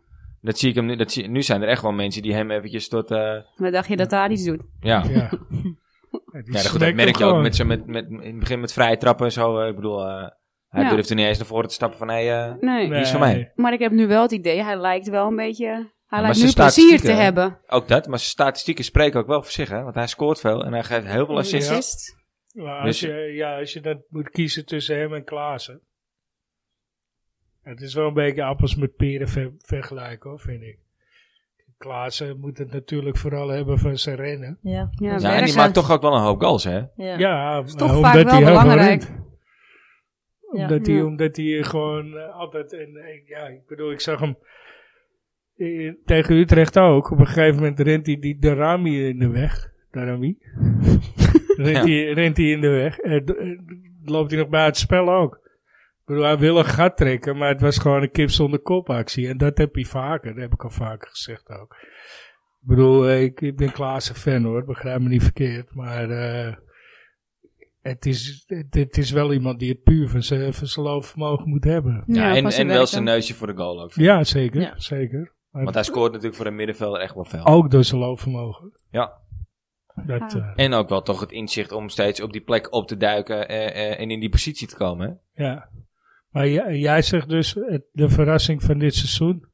S1: Dat zie ik hem nu. Dat zie, nu zijn er echt wel mensen die hem eventjes tot... eh,
S4: Maar dacht je dat daar iets doet?
S1: ja. ja.
S2: Ja. Ja, die
S1: goed, dat
S2: smekt
S1: merk
S2: hem
S1: je ook
S2: gewoon.
S1: met, zijn- met, met, in het begin met vrije trappen en zo. eh, ik bedoel, eh, hij
S4: Ja.
S1: durft er niet eens naar voren te stappen van... Hey, eh,
S4: Nee.
S1: Die is van mij.
S4: Maar ik heb nu wel het idee, hij lijkt wel een beetje... Hij
S1: maar
S4: lijkt
S1: zijn
S4: nu plezier te
S1: statistieken, hè?
S4: hebben.
S1: Ook dat, maar zijn statistieken spreken ook wel voor zich. Hè? Want hij scoort veel en hij geeft heel veel assists.
S2: Ja.
S4: Assist.
S2: Maar als,
S1: Dus-
S2: je, ja, als je dan moet kiezen tussen hem en Klaassen. Het is wel een beetje appels met peren ver- vergelijken hoor, vind ik. Klaassen moet het natuurlijk vooral hebben van zijn rennen.
S3: Ja.
S4: Ja,
S1: Ja, en die
S4: Berghuis.
S1: maakt toch ook wel een hoop goals, hè?
S3: Ja.
S2: Ja,
S3: Ja.
S4: is toch
S2: eh,
S4: vaak wel
S2: heel veel
S4: belangrijk.
S2: rent.
S3: Ja.
S2: Omdat, hij,
S4: Ja.
S2: omdat hij gewoon eh, altijd... En, eh, ja, ik bedoel, ik zag hem eh, tegen Utrecht ook. Op een gegeven moment rent hij die Darami in de weg. Darami. rent,
S1: Ja.
S2: hij, rent hij in de weg. En d- eh, loopt hij nog bij het spel ook. Ik bedoel, hij wil een gat trekken, maar het was gewoon een kip zonder kop actie. En dat heb hij vaker, dat heb ik al vaker gezegd ook. Ik bedoel, eh, ik, ik ben Klaassen fan hoor, begrijp me niet verkeerd. Maar eh, het, is, het, het is wel iemand die het puur van zijn van zijn loopvermogen moet hebben.
S1: Ja, en,
S4: van
S1: en wel
S4: werk
S1: zijn
S4: dan.
S1: neusje voor de goal ook. vind ik.
S2: Ja, zeker,
S3: Ja.
S2: zeker.
S1: Want hij scoort natuurlijk voor een middenvelder echt wel veel.
S2: Ook door zijn loopvermogen.
S1: Ja.
S2: Dat,
S4: Ah.
S2: eh,
S1: En ook wel toch het inzicht om steeds op die plek op te duiken eh, eh, en in die positie te komen. Hè?
S2: ja. Maar jij- jij zegt dus het- de verrassing van dit seizoen.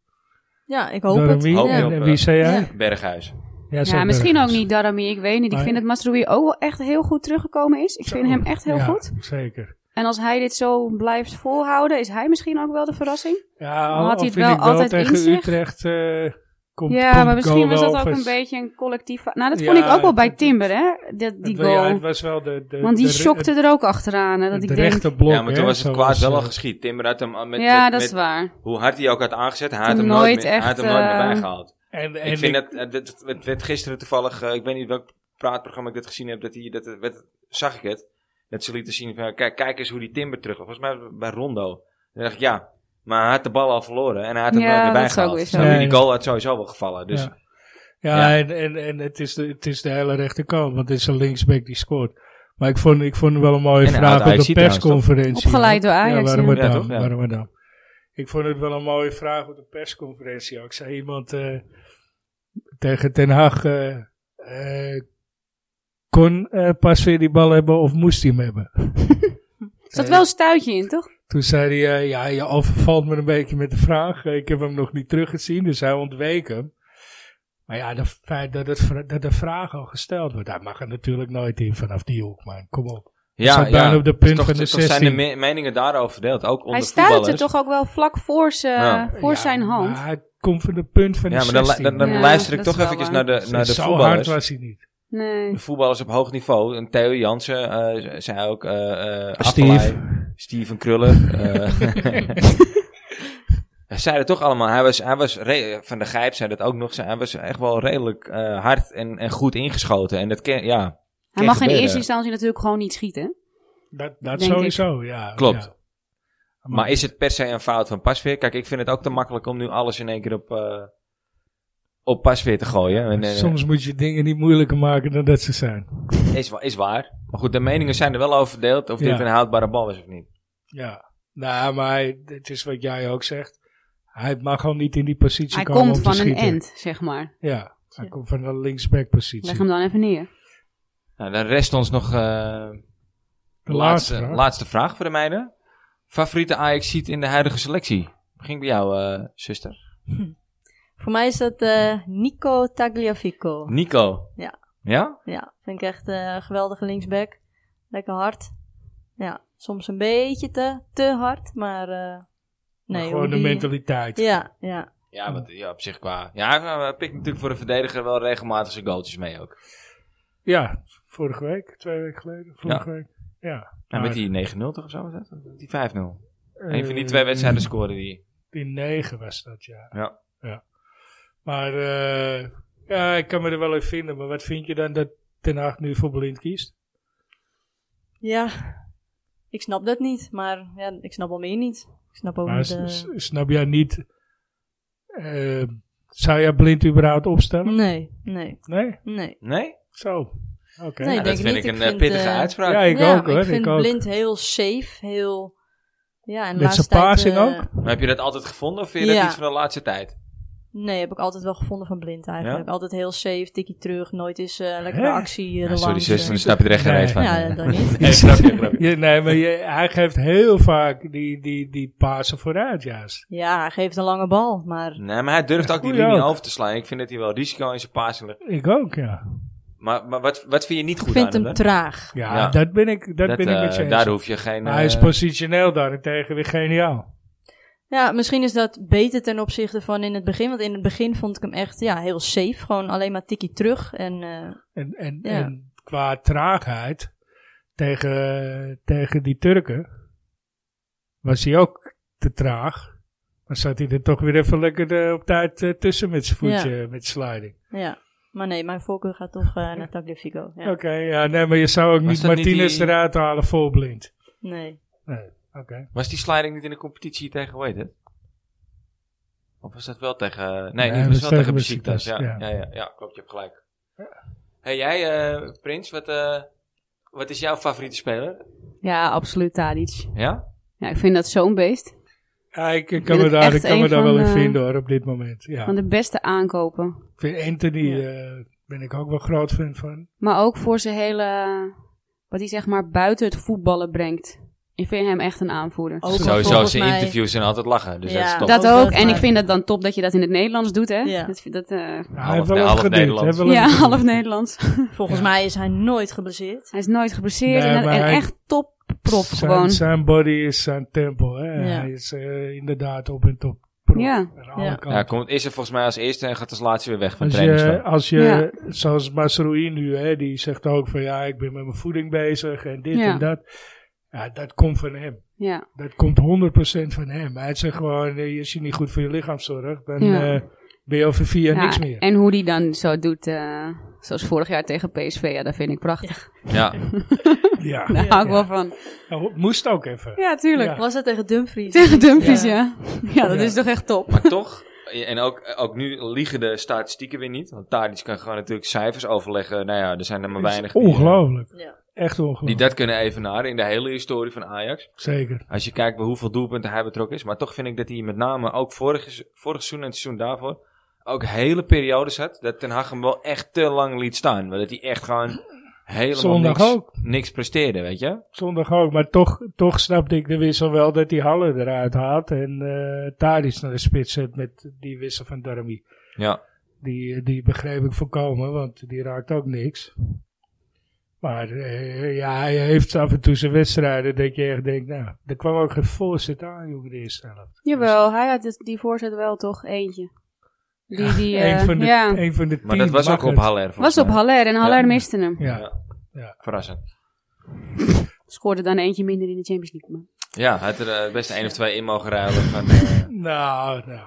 S3: ik hoop het.
S2: Darami,
S1: Hoop je
S3: ja.
S1: op,
S2: en, en
S1: eh,
S2: wie zei jij?
S3: Ja.
S1: Berghuis.
S2: Ja,
S4: Ja, misschien ook niet Darami, ik weet niet. Ik
S2: Maar-
S4: vind dat Masroui ook wel echt heel goed teruggekomen is. Ik
S2: Zo.
S4: vind hem
S1: Oh,
S4: echt heel goed.
S2: Zeker.
S4: En als hij dit zo blijft volhouden, is hij misschien ook wel de verrassing.
S2: Ja,
S4: Maar
S2: al,
S4: had
S2: had
S4: hij
S2: hij
S4: het wel
S2: ik wel
S4: altijd
S2: tegen
S4: inzicht?
S2: Utrecht eh komt
S4: ja,
S2: komt
S4: maar misschien
S2: goal
S4: was
S2: wel
S4: dat ook
S2: vers-
S4: een beetje een collectief... Nou, dat
S2: Ja,
S4: vond ik ook wel bij
S2: het-
S4: Timber, hè, dat, die
S2: het- ja,
S4: goal.
S2: het was wel de, de,
S4: Want die
S2: de, re-
S4: schokte er ook achteraan. Hè, dat
S2: het
S4: ik denk,
S2: rechterblok.
S1: ja, maar toen
S2: hè,
S1: was het
S2: zo
S1: kwaad
S2: was,
S1: wel al
S2: eh,
S1: geschied. Timber had hem al met,
S4: ja,
S1: met-
S4: dat is
S1: met
S4: waar.
S1: hoe hard hij ook had aangezet. Hij had
S4: Toen
S1: hem nooit,
S4: nooit
S1: meer, hij had hem
S4: echt,
S1: nooit
S4: eh,
S1: meer bijgehaald.
S2: En, en
S1: ik vind dat, eh, dat, dat- het werd gisteren toevallig, eh, ik weet niet welk praatprogramma ik dat gezien heb, dat, hij, dat het werd, zag ik het. Dat ze lieten zien, van, kijk, kijk eens hoe die Timber terug Volgens mij bij Rondo. En dan dacht ik, ja, maar hij had de bal al verloren en hij had hem
S4: Ja,
S1: nooit meer
S4: dat is ook
S1: bijgehaald.
S4: weer zo.
S1: Snap je?
S2: Nee,
S1: die
S2: nee.
S1: goal had sowieso wel gevallen. Dus
S2: Ja. Ja,
S1: Ja.
S2: en, en, en het, is de, het is de hele rechterkant, want het is een linksback die scoort. Maar ik vond, ik vond het wel een mooie
S1: En hij had
S2: vraag op
S1: Ajax
S2: de
S1: trouwens, toch?
S2: persconferentie.
S4: Opgeleid door
S2: Ja,
S4: Ajax.
S2: waarom
S4: ja.
S2: maar
S1: Ja,
S2: dan?
S1: toch? Ja.
S2: waarom maar dan? Ik vond het wel een mooie vraag op de persconferentie. ook. zei iemand eh, tegen Ten Hag, eh, eh, kon eh, pas weer die bal hebben of moest hij hem hebben?
S4: Er zat wel een stuitje in, toch?
S2: Toen zei hij, eh, ja, je overvalt me een beetje met de vraag. Eh, Ik heb hem nog niet teruggezien, dus hij ontweek hem. Maar ja, het feit dat, het, vra- dat de vraag al gesteld wordt, daar mag er natuurlijk nooit in vanaf die hoek, man. Kom op.
S1: ja,
S2: zat bijna op de
S1: Dus
S2: punt
S1: toch,
S2: van de
S1: toch zijn de
S2: 16.
S1: me- meningen daarover verdeeld, ook onder
S4: Hij
S1: voetballers.
S4: stuitte toch ook wel vlak voor, ze,
S1: Ja.
S4: voor
S2: Ja,
S4: zijn hand.
S2: maar hij komt van de punt van
S1: Ja,
S2: de
S1: maar dan, lu-
S2: 16.
S1: dan, dan
S4: Ja,
S1: luister ik
S4: dat
S1: toch
S4: is wel
S1: eventjes
S4: waar.
S1: naar de, naar de
S2: Zo
S1: voetballers.
S2: hard was hij niet.
S4: Nee.
S1: De voetballers op hoog niveau. En Theo Jansen eh zei ook... eh eh
S2: Steve.
S1: Affelay, Steven Krullen. eh Hij zei het toch allemaal. Hij was, hij was re- Van de Gijp zei dat ook nog. zei- Hij was echt wel redelijk eh, hard en, en goed ingeschoten. En dat ken, ja,
S4: Hij mag in
S1: gebeuren.
S4: eerste instantie natuurlijk gewoon niet schieten.
S2: Dat, dat
S4: Denk ik.
S2: sowieso, ja.
S1: Klopt.
S2: ja.
S1: maar is het per se een fout van Pasveer? Kijk, ik vind het ook te makkelijk om nu alles in één keer op, eh op Pasveer te gooien. En, eh,
S2: Soms moet je dingen niet moeilijker maken dan dat ze zijn.
S1: is, wa- is waar. Maar goed, de meningen zijn er wel over verdeeld of
S2: Ja.
S1: dit een houdbare bal is of niet.
S2: Ja. Nou, maar hij- het is wat jij ook zegt. Hij mag al niet in die positie
S4: Hij
S2: komen
S4: komt
S2: om te
S4: van een
S2: schieten.
S4: end, zeg maar.
S2: Ja, hij
S3: Ja.
S2: komt van een linksback positie.
S4: Leg hem dan even neer.
S1: Nou, dan rest ons nog eh,
S2: De
S1: de
S2: laatste
S1: laatste,
S2: vraag.
S1: laatste, vraag voor de meiden. Favoriete ajax ziet in de huidige selectie? Begin bij jou, eh, zuster.
S3: Voor mij is dat eh, Nico Tagliafico.
S1: Nico.
S3: Oh. Ja.
S1: Ja?
S3: Ja, vind ik echt eh, een geweldige linksback. Lekker hard. Ja, soms een beetje te, te hard, maar... eh,
S2: Maar
S3: nee,
S2: gewoon
S3: hoe
S2: de
S3: die-
S2: mentaliteit.
S3: Ja, ja.
S1: Ja, want, ja, op zich qua. Ja, hij eh, pikt natuurlijk voor de verdediger wel regelmatig zijn goaltjes mee ook.
S2: Ja, vorige week, twee weken geleden. Vorige week. Ja.
S1: En met
S2: Maar,
S1: die 9-0 toch of zo was dat? Of Die 5-0.
S2: eh,
S1: Een van die twee wedstrijden scoorde die.
S2: Die negen was dat, ja.
S1: Ja.
S2: ja. Maar eh, ja, ik kan me er wel in vinden. Maar wat vind je dan dat Ten Hag nu voor Blind kiest?
S3: Ja, ik snap dat niet, maar ja, ik snap wel meer niet. Ik snap ook
S2: Maar
S3: niet...
S2: s-
S3: eh,
S2: s- snap jij niet... eh, zou jij Blind überhaupt opstellen?
S3: nee, nee,
S2: Nee?
S3: nee.
S1: Nee?
S2: Zo. Oké.
S3: Nee,
S1: Ja,
S3: denk
S1: dat
S3: ik
S1: vind ik
S3: niet. Ik
S1: een eh,
S3: vind,
S1: pittige
S3: eh,
S1: uitspraak.
S2: Ja, ik
S3: ja,
S2: ook
S3: maar
S2: hoor.
S3: Ik vind
S2: Ik ook.
S3: Blind heel safe, heel... Ja, en de
S2: Met zijn
S3: laatste
S2: passing
S3: tijd, eh,
S2: ook?
S1: Maar heb je dat altijd gevonden of vind je dat
S3: Ja.
S1: iets van de laatste tijd?
S3: Nee, heb ik altijd wel gevonden van Blind eigenlijk. Altijd heel safe, tikkie terug, nooit eens eh
S2: Hè?
S3: lekker de actie eh, erlangs, eh.
S1: snap je er
S2: echt geen Nee. reet van.
S3: Ja, dat niet.
S1: Nee, snap je, snap je.
S2: Ja, nee, maar je, hij geeft heel vaak die, die, die Pasen vooruit juist.
S3: Ja, hij geeft een lange bal, maar
S1: Nee, maar hij durft ook die
S2: Goeie
S1: linie
S2: ook.
S1: over te slaan. Ik vind dat hij wel risico in zijn passing legt.
S2: Ik ook, ja.
S1: Maar, maar wat, wat vind je niet
S3: ik
S1: goed aan
S3: vind hem
S1: hè?
S3: traag.
S2: Ja,
S1: Ja.
S2: dat ben ik, dat ben ik
S1: eh,
S2: met je eens.
S1: Daar hoef je geen...
S2: Maar hij is
S1: eh,
S2: positioneel daarentegen weer geniaal.
S3: Ja, misschien is dat beter ten opzichte van in het begin. Want in het begin vond ik hem echt ja, heel safe. Gewoon alleen maar tikkie terug. En eh,
S2: En, en,
S3: Ja.
S2: en qua traagheid tegen, tegen die Turken was hij ook te traag. Maar zat hij er toch weer even lekker eh, op tijd eh, tussen met zijn voetje, met sliding.
S3: ja, maar nee, mijn voorkeur gaat toch eh, naar Tagliafico. Ja.
S2: Oké, ja, nee, maar je zou ook niet
S1: dat niet
S2: Martinez
S1: die-
S2: eruit halen vol blind.
S3: Nee.
S2: Nee, oké.
S1: Was die sliding niet in de competitie tegen, hoe heet het? Of was dat wel tegen... Nee,
S2: Nee,
S1: niet,
S2: dat
S1: was
S2: is
S1: wel
S2: tegen
S1: tegen Besiktas. Ja, ja.
S2: Beşiktaş,
S1: Ja, ja, klopt, je hebt gelijk. Hey, jij, eh, Prins, wat, eh, wat is jouw favoriete speler?
S4: Ja, absoluut Tadic.
S1: Ja?
S4: Ja, ik vind dat zo'n beest.
S2: Ja, ik, ik
S4: vind
S2: kan me
S4: het
S2: daar,
S4: echt
S2: ik kan
S4: een
S2: me daar
S4: van
S2: wel in
S4: de-
S2: vinden hoor, op dit moment. Ja.
S4: Van de beste aankopen.
S2: Ik vind Anthony,
S4: Ja.
S2: eh, ben ik ook wel groot fan van. Nou,
S4: Maar ook voor zijn hele... Wat hij zeg maar buiten het voetballen brengt. Ik vind hem echt een aanvoerder.
S3: Ook wel
S1: Sowieso,
S3: volgens
S1: zijn
S3: mij-
S1: interviews zijn altijd lachen. Dus
S3: Ja.
S1: dat is top.
S3: Dat-
S4: Dat eh,
S3: ook
S4: Oh, ook. En
S3: maar-
S4: ik vind het dan top dat je dat in het Nederlands doet, hè?
S3: Ja.
S4: Dat, dat, eh,
S2: Ja,
S1: Half-
S2: hij heeft wel
S1: half
S2: eens gedeeld.
S1: Nederland.
S2: hij heeft wel eens
S4: ja,
S2: gedeeld.
S4: half Nederlands.
S3: Volgens
S2: Ja.
S3: mij is hij nooit geblesseerd.
S4: Hij is nooit geblesseerd
S2: Nee,
S4: en,
S2: maar
S4: en
S2: hij-
S4: echt top prof
S2: zijn,
S4: gewoon.
S2: Zijn body is zijn tempo. Hè?
S3: Ja.
S2: Hij is eh, inderdaad op en top prof.
S4: Ja.
S2: Aan alle
S3: Ja.
S1: Ja,
S2: kanten.
S1: komt, is er volgens mij als eerste en gaat als laatste weer weg van
S2: Als
S1: trainingsveld.
S2: je, als je zoals Masroui nu, hè, die zegt ook van ja, ik ben met mijn voeding bezig en dit
S4: Ja.
S2: en dat. Ja, dat komt van hem.
S4: Ja.
S2: Dat komt 100% van hem. Hij zegt gewoon, eh, als je niet goed voor je lichaam zorgt, dan
S4: Ja.
S2: eh, ben je over vier jaar
S4: Ja,
S2: niks meer.
S4: En hoe die dan zo doet, eh, zoals vorig jaar tegen PSV, ja, dat vind ik prachtig.
S1: Ja,
S2: Ja.
S4: Daar
S3: Ja.
S4: hou ik
S2: Ja.
S4: wel van.
S2: Nou, moest ook even.
S4: Ja, tuurlijk.
S2: Ja.
S3: Was dat tegen Dumfries?
S4: Tegen Dumfries, ja. Ja, dat
S2: Ja.
S4: is toch echt top.
S1: maar toch. En ook, ook nu liegen de statistieken weer niet. Want Tadic kan gewoon natuurlijk cijfers overleggen. Nou ja, er zijn er maar
S2: Het is
S1: weinig die, eh,
S2: Ongelooflijk.
S3: Ja.
S2: Echt ongelooflijk.
S1: die dat kunnen evenaren in de hele historie van Ajax.
S2: Zeker.
S1: Als je kijkt bij hoeveel doelpunten hij betrokken is. Maar toch vind ik dat hij met name ook vorig, vorig seizoen en het seizoen daarvoor. ook hele periodes had. dat Ten Hag hem wel echt te lang liet staan. Maar dat hij echt gewoon helemaal
S2: Zondag
S1: niks,
S2: ook.
S1: niks presteerde, weet je?
S2: Zondag ook. Maar toch, toch snapte ik de wissel wel dat die Halle eruit haalt. En eh Tadic naar de spits zet met die wissel van Darmi.
S1: Ja.
S2: Die, die begreep ik voorkomen, want die raakt ook niks. Maar eh, ja, hij heeft af en toe zijn wedstrijden dat je echt denkt, nou, er kwam ook geen voorzet aan, jongen, de eerste helft.
S4: Jawel, hij had het- die voorzet wel toch eentje. Die, die, eh,
S2: Eén van de,
S4: ja.
S2: één van de tien.
S1: Maar dat was
S2: mag
S1: ook op
S2: het.
S1: Haller. volgens
S4: Was op
S1: mij.
S4: Haller en Haller
S1: Ja.
S4: miste hem.
S2: Ja.
S1: Verrassend.
S4: Scoorde dan eentje minder in de Champions League. maar-
S1: Ja, hij had er eh, best één of twee in mogen ruilen. Van, eh,
S2: Nou, nou.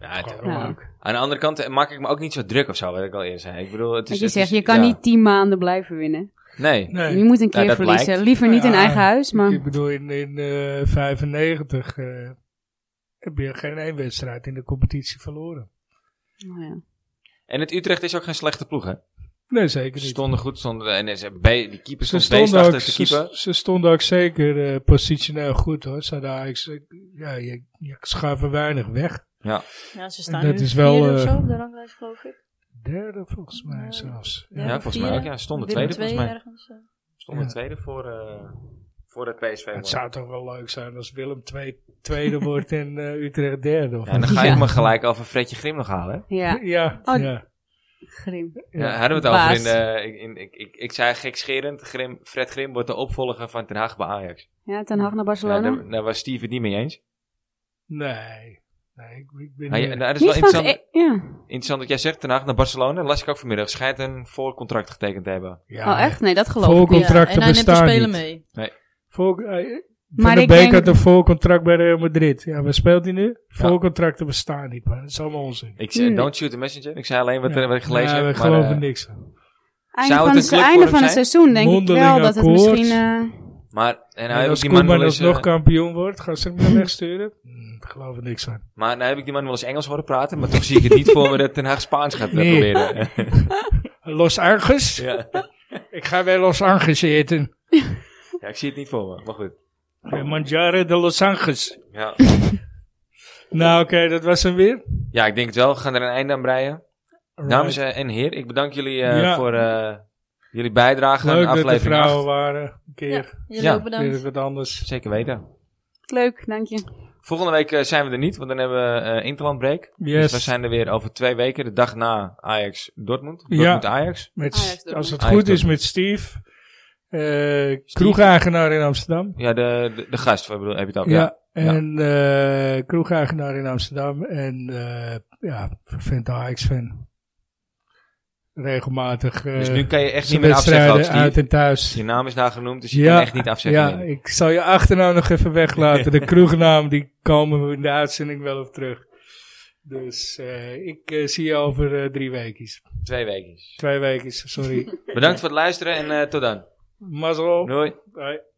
S1: ja, het-
S2: Kan
S4: Ja.
S2: ook.
S1: aan de andere kant eh, maak ik me ook niet zo druk of zo, wat ik al eerder zei. Ik bedoel, het is,
S4: Dat je
S1: het
S4: zegt,
S1: is-
S4: je kan
S1: ja.
S4: niet tien maanden blijven winnen.
S1: Nee.
S2: Nee.
S4: Je moet een
S1: Nou,
S4: keer
S1: dat
S4: verliezen.
S1: blijkt.
S4: Liever niet in
S2: Ja,
S4: eigen huis, maar...
S2: Ik bedoel, in, in eh, 95 eh, heb je geen één wedstrijd in de competitie verloren.
S4: Nou ja.
S1: En het Utrecht is ook geen slechte ploeg, hè?
S2: Nee, zeker
S1: Ze
S2: niet.
S1: stonden goed, stonden, en ze, be- die keeper
S2: Ze
S1: stond
S2: stonden, ook,
S1: beestachtig te
S2: ze,
S1: keeper.
S2: ze stonden ook zeker eh, positioneel goed hoor. Ze hadden eigenlijk, ja, je, je schuift er weinig weg.
S3: Ja, ze staan
S2: Dat
S3: nu
S2: is wel,
S3: vierde of
S2: eh,
S3: zo op de ranglijst, geloof ik.
S2: Derde volgens mij
S3: Nee.
S2: zelfs.
S1: Ja,
S3: Ja,
S1: volgens
S3: vier.
S1: mij ook. Ja, stonden
S3: Willem
S1: tweede
S3: II
S1: volgens mij.
S3: ergens. eh.
S1: Stonden
S2: Ja.
S1: tweede voor, eh, voor het PSV.
S2: Het
S1: wordt.
S2: zou toch wel leuk zijn als Willem twee, tweede wordt en eh, Utrecht derde. Of
S1: Ja, en dan ga je
S4: Ja.
S1: me gelijk over Fredje Grim nog halen. hè?
S4: ja,
S2: ja,
S4: Oh,
S2: ja.
S4: grim.
S1: Ja,
S2: Ja.
S1: hadden we het over
S4: Baas.
S1: in, eh, ik- in, ik, ik, ik zei gekscherend, Grim, Fred Grim wordt de opvolger van Ten Hag bij Ajax.
S4: Ja, Ten Hag naar
S1: Nou,
S4: Barcelona.
S1: daar, daar was Steve het niet mee eens.
S2: Nee. Nee, ik, ik ben
S1: Maar ja,
S2: niet-
S1: nou, dat is wel
S4: Niet van
S1: interessant,
S4: ge- ja.
S1: interessant dat jij zegt, Ten Hag naar Barcelona. las ik ook vanmiddag. Schijnt een voorcontract getekend te hebben.
S2: ja,
S4: Oh, echt? Nee, dat geloof ik
S2: Volk-
S4: niet.
S2: Contracten
S3: ja, en hij neemt de
S2: bestaan
S3: spelen
S2: niet.
S3: mee.
S2: Vol, eh,
S4: Maar
S2: Van de
S4: ik
S2: Beek
S4: denk-
S2: had een volcontract bij Real Madrid. Ja, waar speelt hij nu? Volcontracten bestaan niet, man. Dat is allemaal onzin.
S1: Ik zei,
S4: Hmm.
S1: don't shoot the messenger. Ik zei alleen wat,
S2: Ja.
S1: er wat ik gelezen
S2: Ja,
S1: heb.
S2: we
S1: maar,
S2: geloven
S1: eh,
S2: niks van.
S4: Einde
S1: Zou
S4: van
S1: het
S4: het,
S1: een club
S4: einde
S1: voor
S4: van
S1: hem
S4: het seizoen denk
S2: Mondeling
S4: ik wel dat het
S2: akkoord.
S4: misschien... eh,
S1: maar, en nou
S2: en
S1: heb ik
S2: als
S1: die man
S2: Koeman
S1: wel eens...
S2: alsnog
S1: eh,
S2: kampioen wordt, gaan ze hem dan wegsturen? Hm, Daar geloven we niks van.
S1: Maar nou heb ik die man wel eens Engels horen praten, maar toch zie ik het niet voor me dat Ten Hag Spaans gaat eh,
S2: Nee.
S1: proberen.
S2: Eh, Los Angeles?
S1: ja.
S2: Ik ga bij Los Angeles eten.
S1: ja, ik zie het niet voor me, maar goed.
S2: Bij Mangiare de Los Angeles.
S1: Ja,
S2: Nou, oké, dat was hem weer.
S1: ja ik denk het wel. We gaan er een einde aan breien. Dames
S2: Right.
S1: eh, en heren, ik bedank jullie eh,
S2: Ja.
S1: voor eh, jullie bijdrage aan
S2: Leuk dat de
S1: aflevering Dus
S2: vrouwen
S1: 8.
S2: waren. Een keer.
S3: Jullie
S1: Ja,
S2: Ja,
S3: ook
S2: weer
S3: bedankt.
S2: eens wat anders.
S1: Zeker weten.
S4: Leuk, dank je.
S1: Volgende week eh, zijn we er niet, want dan hebben we eh interlandbreak. Dus
S2: Yes.
S1: we zijn er weer over twee weken, de dag na Ajax-Dortmund.
S2: Ja.
S1: Dortmund-Ajax.
S2: Met,
S4: Ajax Dortmund.
S2: als het
S1: Ajax
S2: goed Ah, is
S1: Dortmund.
S2: met Steve. eh kroegagenaar in Amsterdam.
S1: Ja, de, de, de gast, wat bedoel, heb je het ook?
S2: Ja,
S1: Ja.
S2: en eh kroegagenaar in Amsterdam en eh ja, vervent Ajax-fan. Regelmatig. eh
S1: Dus nu kan je echt niet
S2: zijn
S1: meer afzeggen, ook,
S2: wedstrijden uit
S1: Steve.
S2: en thuis.
S1: Je naam is nou genoemd, dus je
S2: Ja,
S1: kan echt niet afzeggen.
S2: ja,
S1: meer.
S2: ik zal je achternaam nog even weglaten. De kroegnaam, die komen we in de uitzending wel op terug. Dus eh ik eh, zie je over eh, drie weken.
S1: Twee weken.
S2: Twee weken, sorry.
S1: Bedankt voor het luisteren en eh, tot dan.
S2: Mazzel.
S1: Doei.
S2: Bye.